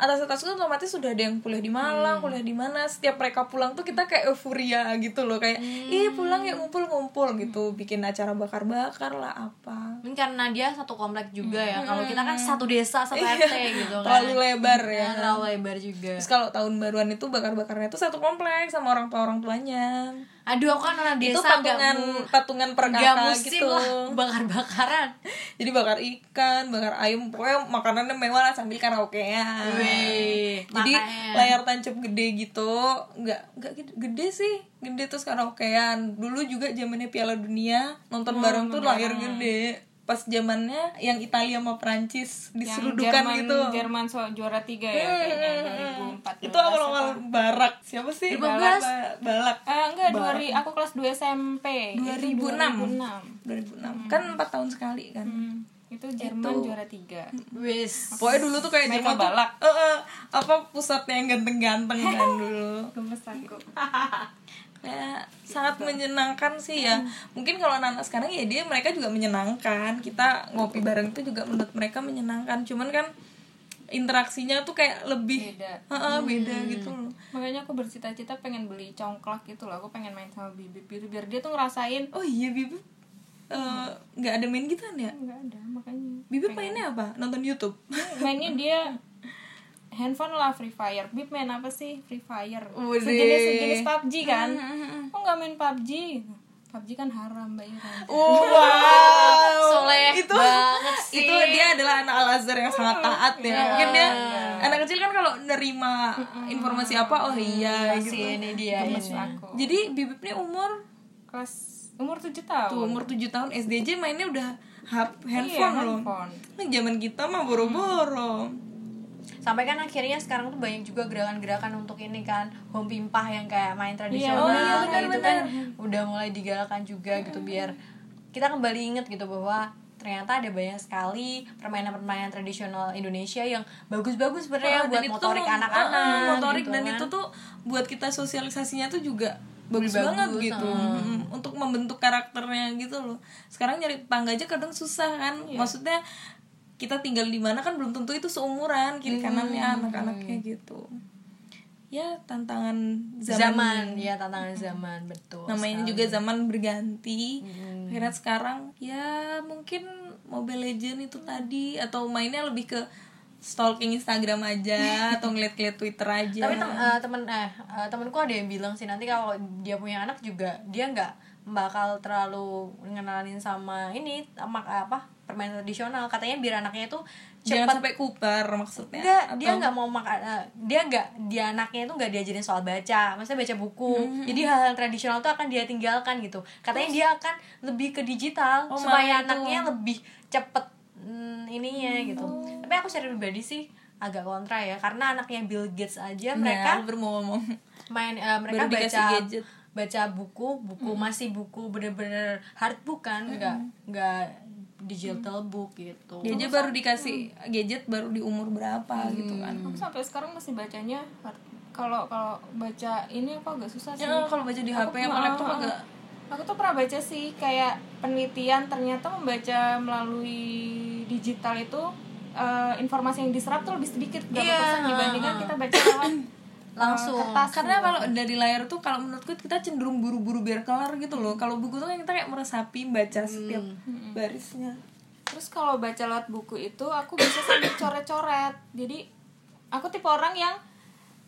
Speaker 4: atas atasku otomatis sudah ada yang kuliah di Malang kuliah di mana setiap mereka pulang tuh kita kayak euforia gitu loh kayak ih pulang ya ngumpul ngumpul gitu bikin acara bakar bakar lah apa
Speaker 3: Mungkin karena dia satu komplek juga ya. Kalau kita
Speaker 4: Hmm.
Speaker 3: kan satu desa, satu
Speaker 4: Iya.
Speaker 3: RT gitu kan.
Speaker 4: terlalu lebar ya
Speaker 3: Nah, terlalu lebar juga.
Speaker 4: terus kalau tahun baruan itu bakar bakarnya itu satu kompleks sama orang tua orang tuanya
Speaker 3: Aduh, aku kan orang
Speaker 4: itu
Speaker 3: desa
Speaker 4: patungan patungan per
Speaker 3: gak
Speaker 4: kakak
Speaker 3: musim
Speaker 4: gitu
Speaker 3: lah bakar-bakaran.
Speaker 4: jadi bakar ikan bakar ayam pokoknya makanannya mewah lah sambil karaokean
Speaker 3: Wih,
Speaker 4: jadi
Speaker 3: makanya.
Speaker 4: layar tancap gede gitu nggak nggak gede, gede sih gede terus karaokean dulu juga zamannya Piala Dunia nonton
Speaker 3: Hmm,
Speaker 4: bareng tuh layar gede pas zamannya yang Italia sama Prancis diserudukan
Speaker 2: Jerman,
Speaker 4: gitu
Speaker 2: Jerman so juara tiga ya kayaknya 2004.
Speaker 4: itu awal-awal barak siapa sih balak balak
Speaker 2: Eh, enggak, 2000, aku kelas 2 SMP. Itu
Speaker 4: 2006
Speaker 2: 2006.
Speaker 3: Hmm.
Speaker 4: 2006 kan 4 tahun sekali kan
Speaker 2: Hmm, itu Jerman juara tiga
Speaker 3: Wis.
Speaker 4: Pokoknya dulu tuh kayak Jerman tuh
Speaker 2: balak.
Speaker 4: eh, eh, apa pusatnya yang ganteng-ganteng kan dulu.
Speaker 2: gemes aku
Speaker 4: Kayak Ya, sangat menyenangkan sih ya. Mungkin kalau anak-anak sekarang ya dia mereka juga menyenangkan. Kita ngopi bareng itu juga menurut mereka menyenangkan. Cuman kan interaksinya tuh kayak lebih
Speaker 2: Beda.
Speaker 4: Eh, eh, beda gitu loh.
Speaker 2: makanya aku bercita-cita pengen beli congklak gitu loh aku pengen main sama bibi gitu biar dia tuh ngerasain
Speaker 4: Oh iya Bibi. Eh, nggak ada main gitaran ya?
Speaker 2: enggak ada makanya
Speaker 4: Bibi mainnya apa? Nonton YouTube.
Speaker 2: mainnya dia handphone lah free fire bib main apa sih free fire
Speaker 4: Wede.
Speaker 2: sejenis sejenis PUBG kan kok nggak main PUBG PUBG kan haram mbak Ira
Speaker 4: Wow.
Speaker 3: Soleh
Speaker 4: Oh, itu
Speaker 3: banget sih.
Speaker 4: itu dia adalah anak Al Azhar yang sangat taat ya. Mungkin dia anak kecil kan kalau nerima informasi apa oh iya gitu.
Speaker 3: Masih ini dia
Speaker 2: Gemes
Speaker 3: ini.
Speaker 2: aku
Speaker 4: Iya. Jadi Bibip nih umur
Speaker 2: kelas umur 7
Speaker 4: tuh
Speaker 2: tahun
Speaker 4: umur 7 tahun SD aja mainnya udah hap, handphone loh.
Speaker 2: handphone.
Speaker 4: Nah, zaman kita mah boro-boro.
Speaker 3: Sampai kan akhirnya sekarang tuh banyak juga gerakan-gerakan untuk ini kan home pimpah yang kayak main tradisional
Speaker 2: oh iya,
Speaker 3: kayak gitu kan udah mulai digalakan juga gitu biar kita kembali inget gitu bahwa ternyata ada banyak sekali permainan-permainan tradisional Indonesia yang bagus-bagus sebenarnya buat
Speaker 4: itu tuh
Speaker 3: motorik
Speaker 4: mem-
Speaker 3: anak-anak
Speaker 4: eh, motorik
Speaker 3: gitu
Speaker 4: dan
Speaker 3: kan.
Speaker 4: itu tuh buat kita sosialisasinya tuh juga bagus, banget gitu Mm, untuk membentuk karakternya gitu loh sekarang nyari tetangga aja kadang susah kan maksudnya kita tinggal di mana kan belum tentu itu seumuran kiri kanannya anak-anaknya gitu ya tantangan zaman,
Speaker 3: zaman, ya tantangan zaman betul
Speaker 4: namanya juga zaman berganti akhirnya sekarang ya mungkin Mobile Legend itu tadi atau mainnya lebih ke stalking Instagram aja atau ngeliat-ngeliat Twitter aja
Speaker 3: tapi tem- eh, temen eh eh, temenku ada yang bilang sih nanti kalau dia punya anak juga dia nggak bakal terlalu ngenalin sama ini sama apa permainan tradisional katanya biar anaknya itu
Speaker 4: jangan sampai kubar maksudnya
Speaker 3: enggak dia nggak mau makan eh, dia nggak dia anaknya itu nggak diajarin soal baca maksudnya baca buku jadi hal-hal tradisional itu akan dia tinggalkan gitu katanya dia akan lebih ke digital supaya anaknya lebih cepet mm, ininya gitu tapi aku secara pribadi sih agak kontra ya karena anaknya Bill Gates
Speaker 4: Iya,
Speaker 3: aja mereka
Speaker 4: mereka bermomong
Speaker 3: main eh, mereka
Speaker 4: Baru dikasih
Speaker 3: baca
Speaker 4: gadget.
Speaker 3: baca buku buku masih buku bener-bener hard book kan nggak nggak digital book gitu
Speaker 4: dia aja baru dikasih gadget baru di umur berapa gitu kan
Speaker 2: Aku sampai sekarang masih bacanya hard- kalau kalau baca ini aku agak susah sih.
Speaker 4: ya, kalau baca di HP
Speaker 2: Aku-
Speaker 4: sama laptop
Speaker 2: ah, ah.
Speaker 4: agak
Speaker 2: Aku tuh pernah baca sih kayak penelitian ternyata membaca melalui digital itu eh, informasi yang diserap tuh lebih sedikit berapa persen dibandingkan kita baca lewat
Speaker 3: langsung
Speaker 2: kertas
Speaker 4: karena kalau dari layar tuh kalau menurutku kita cenderung buru-buru biar kelar gitu loh kalau buku tuh kan kita kayak meresapi baca setiap barisnya
Speaker 2: Terus kalau baca lewat buku itu aku bisa sambil coret-coret. Jadi aku tipe orang yang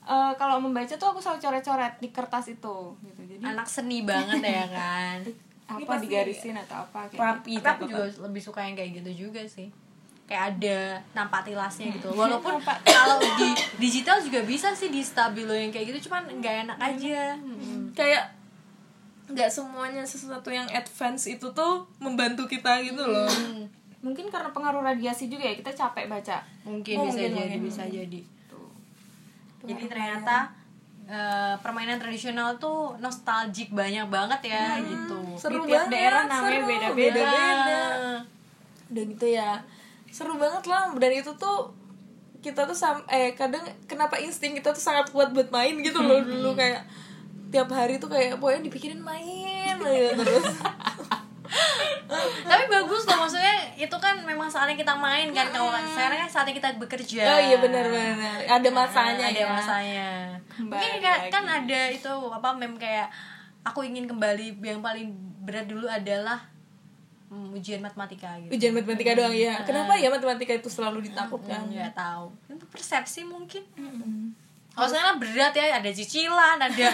Speaker 2: eh, kalau membaca tuh aku selalu coret-coret di kertas itu gitu. Jadi
Speaker 3: anak seni banget ya kan
Speaker 2: apa digarisin atau apa kayak gitu.
Speaker 4: rapi
Speaker 3: tapi aku juga lebih suka yang kayak gitu juga sih kayak ada nampak tilasnya gitu walaupun kalau di digital juga bisa sih di stabilo yang kayak gitu cuman nggak enak aja Mm-mm.
Speaker 4: kayak nggak semuanya sesuatu yang advance itu tuh membantu kita gitu loh
Speaker 2: Hmm. mungkin karena pengaruh radiasi juga ya kita capek baca
Speaker 3: Oh, mungkin bisa jadi bisa jadi jadi ternyata eh, permainan tradisional tuh nostalgic banyak banget ya gitu Iya.
Speaker 4: seru banget
Speaker 2: tiap daerah namanya
Speaker 4: seru,
Speaker 2: beda-beda.
Speaker 4: beda-beda. udah gitu ya seru banget lah dan itu tuh kita tuh sam eh kadang kenapa insting kita tuh sangat kuat buat main gitu loh
Speaker 2: Hmm.
Speaker 4: dulu kayak tiap hari tuh kayak pokoknya dipikirin main gitu. aja terus
Speaker 3: tapi bagus loh maksudnya itu kan memang saatnya kita main kan kalau sekarang kan saatnya kita bekerja
Speaker 4: oh
Speaker 2: ya.
Speaker 4: iya benar benar ada masanya
Speaker 3: ada
Speaker 4: ya
Speaker 3: masanya mungkin kan, kan ada itu apa mem kayak aku ingin kembali yang paling berat dulu adalah mm, ujian matematika gitu
Speaker 4: ujian matematika doang ya
Speaker 2: Hmm.
Speaker 4: kenapa ya matematika itu selalu ditakutkan
Speaker 3: Kan, nggak tahu itu persepsi mungkin
Speaker 4: Hmm.
Speaker 3: Oh, sekarang berat ya, ada cicilan, ada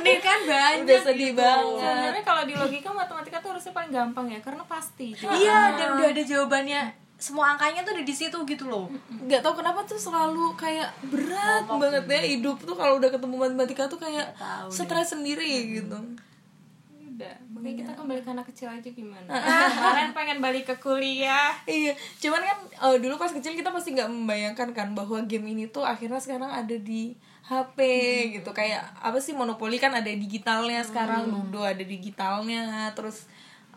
Speaker 3: ini kan banyak.
Speaker 4: Iya. udah sedih banget
Speaker 2: sebenarnya kalau di logika matematika tuh harusnya paling gampang ya karena pasti Jadi
Speaker 4: Hmm.
Speaker 3: Iya, dan udah ada jawabannya. Semua angkanya tuh ada di situ gitu loh.
Speaker 4: nggak tahu kenapa tuh selalu kayak berat banget ya hidup tuh kalau udah ketemu matematika tuh kayak stres sendiri gitu
Speaker 2: udah makanya kita kembali ke anak kecil aja gimana kalian pengen balik ke kuliah
Speaker 4: iya cuman kan eh, dulu pas kecil kita pasti nggak membayangkan kan bahwa game ini tuh akhirnya sekarang ada di HP gitu kayak apa sih monopoli kan ada digitalnya sekarang ludo ada digitalnya terus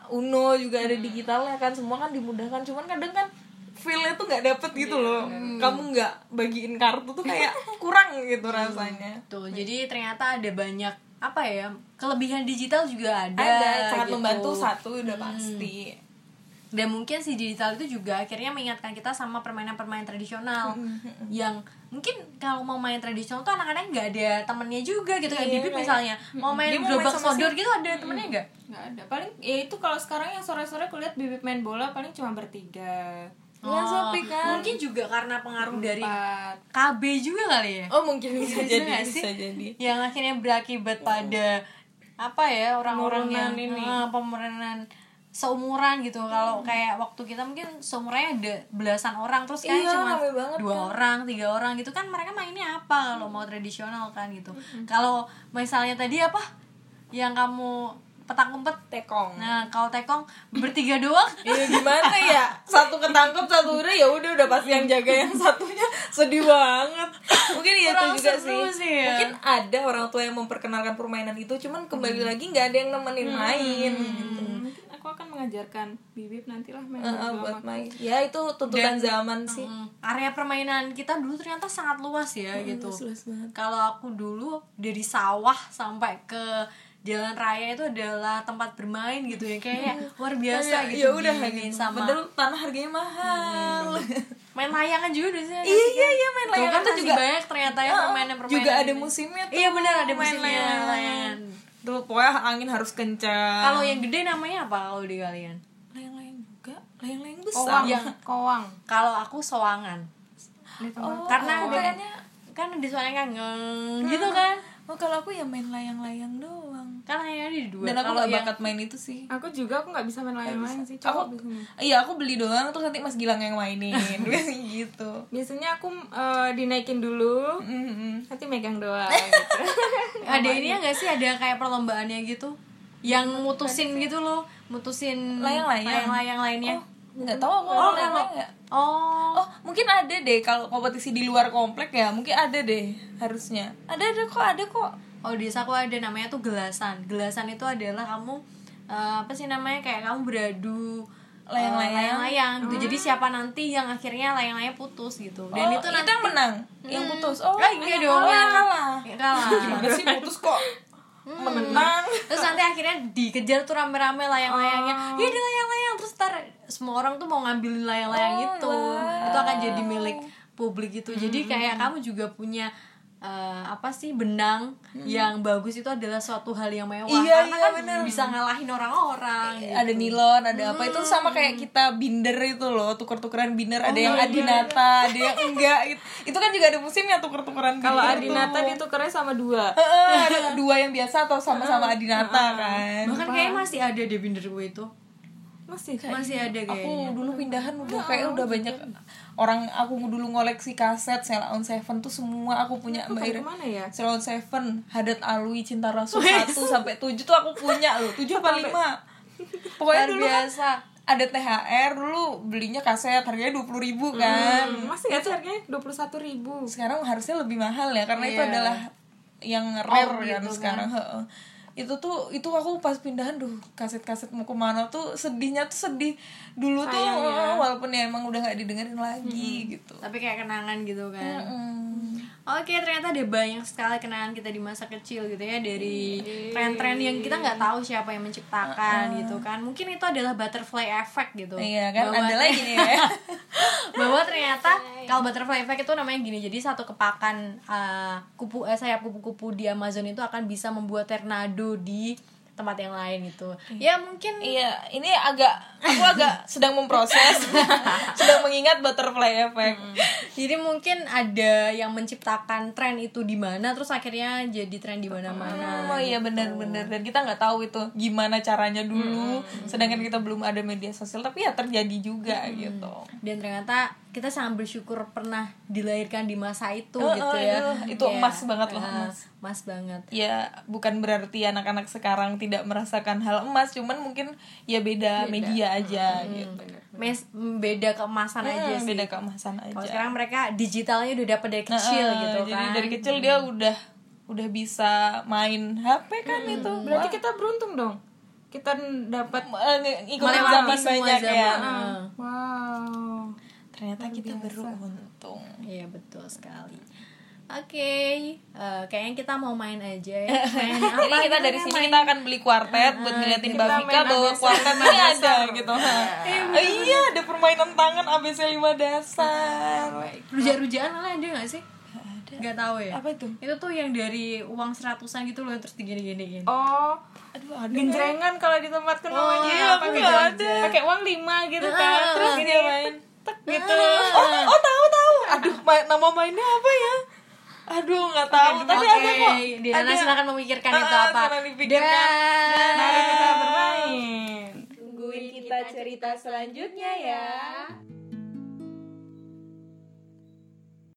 Speaker 4: uno juga ada digitalnya kan semua kan dimudahkan cuman kadang kan feelnya tuh nggak dapet gitu loh kamu nggak bagiin kartu tuh kayak kurang gitu rasanya
Speaker 3: Tuh, jadi ternyata ada banyak apa ya? Kelebihan digital juga ada.
Speaker 4: ada Hmm. sangat
Speaker 3: gitu.
Speaker 4: membantu satu udah pasti
Speaker 3: Dan mungkin si digital itu juga akhirnya mengingatkan kita sama permainan-permainan tradisional
Speaker 4: Hmm,
Speaker 3: yang mungkin kalau mau main tradisional tuh anak-anak nggak ada temennya juga gitu
Speaker 4: Iya,
Speaker 3: kayak Bibip misalnya
Speaker 4: Hmm,
Speaker 3: mau main gerobak sodor gitu ada temennya nggak?
Speaker 2: nggak ada paling ya itu kalau sekarang yang sore-sore kulihat bibit main bola paling cuma bertiga
Speaker 4: Nggak sepi kan
Speaker 3: Mungkin juga karena pengaruh dari
Speaker 2: empat
Speaker 3: KB juga kali ya.
Speaker 4: oh mungkin bisa jadi
Speaker 3: nggak
Speaker 4: bisa jadi
Speaker 3: yang akhirnya berakibat pada apa ya orang-orang yang eh, pemeranan seumuran gitu kalau kayak waktu kita mungkin seumurannya ada belasan orang terus kayak cuma dua orang tiga orang gitu kan mereka mainnya apa kalau mau tradisional kan gitu kalau misalnya tadi apa yang kamu petak umpet
Speaker 4: tekong
Speaker 3: nah kalau tekong bertiga doang
Speaker 4: Iya gimana ya satu ketangkep satu udah ya udah udah pasti yang jaga yang satunya sedih banget mungkin ya itu
Speaker 3: Kurang
Speaker 4: juga sih,
Speaker 3: seru sih ya.
Speaker 4: mungkin ada orang tua yang memperkenalkan permainan itu cuman kembali lagi nggak ada yang nemenin main gitu
Speaker 2: mungkin aku akan mengajarkan bibip nantilah main
Speaker 4: Eh,
Speaker 2: bola
Speaker 4: buat main ya itu tuntutan zaman sih
Speaker 3: Hmm, area permainan kita dulu ternyata sangat luas ya gitu. Kalau aku dulu dari sawah sampai ke jalan raya itu adalah tempat bermain gitu ya kayak luar biasa
Speaker 4: ya
Speaker 3: gitu.
Speaker 4: udah
Speaker 3: dibandingin
Speaker 4: gitu.
Speaker 3: sama
Speaker 4: padahal tanah harganya mahal
Speaker 3: main layangan juga biasanya ada
Speaker 4: Iya
Speaker 3: sih,
Speaker 4: iya
Speaker 3: kan?
Speaker 4: iya main
Speaker 3: Tuh
Speaker 4: layangan
Speaker 3: kan
Speaker 4: Hmm. tuh
Speaker 3: masih
Speaker 4: juga
Speaker 3: banyak ternyata ya permainan permainan
Speaker 4: juga ada musimnya tuh.
Speaker 3: Iya, benar, ada
Speaker 4: main
Speaker 3: musimnya, layangan.
Speaker 4: Tuh pokoknya angin harus kencang.
Speaker 3: kalau yang gede namanya apa kalau di kalian
Speaker 4: layang-layang juga, layang-layang
Speaker 3: Oh,
Speaker 4: besar.
Speaker 2: Kowang, kowang.
Speaker 3: kalau aku soangan
Speaker 2: Di tempat.
Speaker 4: Oh,
Speaker 3: karena ada- kan di soalnya kan ngeng gitu kan
Speaker 4: Oh kalau aku ya main layang-layang doang.
Speaker 3: kan hanya di dua
Speaker 4: Dan aku
Speaker 3: Kalau
Speaker 4: gak
Speaker 3: yang-
Speaker 4: bakat main itu sih.
Speaker 2: Aku juga aku nggak bisa main layang-layang sih. Coba
Speaker 4: Aku iya aku beli doang terus nanti Mas Gilang yang mainin Biasanya gitu.
Speaker 2: biasanya aku eh, dinaikin dulu,
Speaker 4: Mm-mm.
Speaker 2: nanti megang doang. Gitu.
Speaker 3: ada ini ya nggak sih ada kayak perlombaannya gitu yang mutusin gitu loh mutusin
Speaker 4: Layang-layang.
Speaker 3: layang-layang lainnya
Speaker 4: Nggak tahu aku
Speaker 3: oh,
Speaker 4: orang
Speaker 3: kalau
Speaker 4: main nggak.
Speaker 3: oh
Speaker 4: Oh, mungkin ada deh kalau kompetisi di luar komplek ya, mungkin ada deh harusnya. Ada ada kok, ada kok.
Speaker 3: Oh di desa aku ada namanya tuh gelasan. Gelasan itu adalah kamu eh, apa sih namanya kayak kamu beradu eh,
Speaker 4: Layang-layang. Hmm.
Speaker 3: layang-layang gitu. Jadi siapa nanti yang akhirnya layang-layangnya putus gitu. Dan
Speaker 4: Oh,
Speaker 3: itu nanti
Speaker 4: yang menang, yang putus. Oh,
Speaker 3: Eh, enggak dong.
Speaker 4: yang kalah. Hmm.
Speaker 3: Ya, kalah.
Speaker 4: Gimana sih putus kok? Menang.
Speaker 3: Terus nanti akhirnya dikejar tuh
Speaker 4: Oh.
Speaker 3: rame-rame layang-layangnya. Ya ada layang-layang terus ntar semua orang tuh mau ngambilin layang-layang
Speaker 4: Oh,
Speaker 3: itu. Itu akan jadi milik publik gitu.
Speaker 4: Hmm.
Speaker 3: Jadi kayak kamu juga punya eh, apa sih benang yang bagus itu adalah suatu hal yang mewah
Speaker 4: Hmm. Iya,
Speaker 3: karena
Speaker 4: iya,
Speaker 3: kan bisa ngalahin orang-orang gitu.
Speaker 4: ada nilon, ada apa itu sama kayak kita binder itu loh, tuker-tukeran binder, ada yang adinata, ada yang enggak gitu. Itu kan juga ada musimnya tuker-tukeran
Speaker 2: Kalau
Speaker 4: binder
Speaker 2: Adinata
Speaker 4: tuh.
Speaker 2: ditukernya sama dua.
Speaker 4: Heeh, ada dua yang biasa atau sama-sama adinata kan.
Speaker 3: bahkan kayak masih ada deh binder gue itu
Speaker 2: Masih
Speaker 3: masih ada
Speaker 4: Iya. Aku
Speaker 3: kayaknya
Speaker 4: dulu pindahan udah kayak udah banyak orang aku dulu ngoleksi kaset Sela on Seven tuh semua aku punya Mbak Ira.
Speaker 2: kemana ya?
Speaker 4: Sela on Seven, Hadat Alwi, Cinta Rasul 1 sampai 7 tuh aku punya loh, 7 apa 5. Pokoknya
Speaker 3: Luar
Speaker 4: dulu kan
Speaker 3: biasa.
Speaker 4: ada THR dulu belinya kaset harganya 20.000 ribu kan.
Speaker 2: Hmm, Masih nggak sih harganya dua puluh satu ribu.
Speaker 4: sekarang harusnya lebih mahal ya karena itu adalah yang rare kan sekarang heeh. itu tuh itu aku pas pindahan duh kaset-kaset mau kemana tuh sedihnya tuh sedih dulu tuh eh, walaupun ya emang udah nggak didengerin lagi gitu
Speaker 3: tapi kayak kenangan gitu
Speaker 4: Iya.
Speaker 3: kan Oke, ternyata ada banyak sekali kenangan kita di masa kecil gitu ya dari
Speaker 4: Iya.
Speaker 3: tren-tren yang kita nggak tahu siapa yang menciptakan gitu kan. Mungkin itu adalah butterfly effect gitu.
Speaker 4: iya kan
Speaker 3: Bahwa-
Speaker 4: ada lagi nih ya
Speaker 3: bahwa ternyata kalau butterfly effect itu namanya gini. Jadi satu kepakan eh, kupu eh, sayap kupu-kupu di Amazon itu akan bisa membuat tornado di tempat yang lain gitu. Ya mungkin
Speaker 4: iya ini agak aku agak sedang memproses sedang mengingat butterfly effect
Speaker 3: Jadi mungkin ada yang menciptakan tren itu di mana terus akhirnya jadi tren di mana-mana.
Speaker 4: Oh iya benar-benar dan kita nggak tahu itu gimana caranya dulu sedangkan kita belum ada media sosial tapi ya terjadi juga gitu
Speaker 3: Dan ternyata kita sangat bersyukur pernah dilahirkan di masa itu gitu
Speaker 4: eh,
Speaker 3: ya.
Speaker 4: eh, itu emas banget loh,
Speaker 3: eh, emas banget.
Speaker 4: ya bukan berarti anak-anak sekarang tidak merasakan hal emas cuman mungkin ya beda, media aja gitu
Speaker 3: Mes, beda keemasan aja
Speaker 4: Hmm,
Speaker 3: sih.
Speaker 4: beda keemasan aja
Speaker 3: Kalau sekarang mereka digitalnya udah dapat dari kecil
Speaker 4: Eh,
Speaker 3: gitu
Speaker 4: jadi
Speaker 3: kan.
Speaker 4: dari kecil dia udah udah bisa main HP kan itu
Speaker 2: Berarti kita beruntung dong. Kita dapat
Speaker 4: Eh, nge- ngikutin
Speaker 3: Melewati
Speaker 4: zaman
Speaker 3: semua
Speaker 4: banyak ya
Speaker 3: zaman, eh.
Speaker 2: wow.
Speaker 4: ternyata kita beruntung
Speaker 3: Iya betul sekali. Oke, eh, kayaknya kita mau main aja ya. Main apa
Speaker 4: Jadi kita
Speaker 3: gitu
Speaker 4: dari
Speaker 3: kan,
Speaker 4: sini
Speaker 3: main
Speaker 4: kita akan beli kuartet buat ngeliatin Mbak Vika
Speaker 2: main
Speaker 4: bahwa
Speaker 2: ABC
Speaker 4: kuartet ini ada gitu. Eh, Iya, ada permainan tangan ABC 5 dasar.
Speaker 3: Rujak-rujakan lah ada gak sih? Ada. Gak tau ya?
Speaker 4: Apa itu?
Speaker 3: Itu tuh yang dari uang seratusan gitu loh yang terus digini-giniin.
Speaker 2: Oh, aduh, genjrengan kalau di tempatku namanya
Speaker 4: iya,
Speaker 2: apa
Speaker 4: aku
Speaker 2: gitu.
Speaker 4: nggak ada. Ah,
Speaker 2: Pakai uang lima gitu kan. Terus
Speaker 4: Terus
Speaker 2: gini
Speaker 4: dia Iya, main tek gitu. Oh,
Speaker 3: Nah.
Speaker 4: oh tahu tahu. Aduh, ma- nama mainnya apa ya? Aduh, nggak tahu. Tapi ada kok.
Speaker 3: Diana silakan memikirkan
Speaker 4: Ah,
Speaker 3: itu apa.
Speaker 4: silakan dipikirkan.
Speaker 3: Dan-
Speaker 2: kita bermain.
Speaker 1: Tungguin kita cerita selanjutnya ya.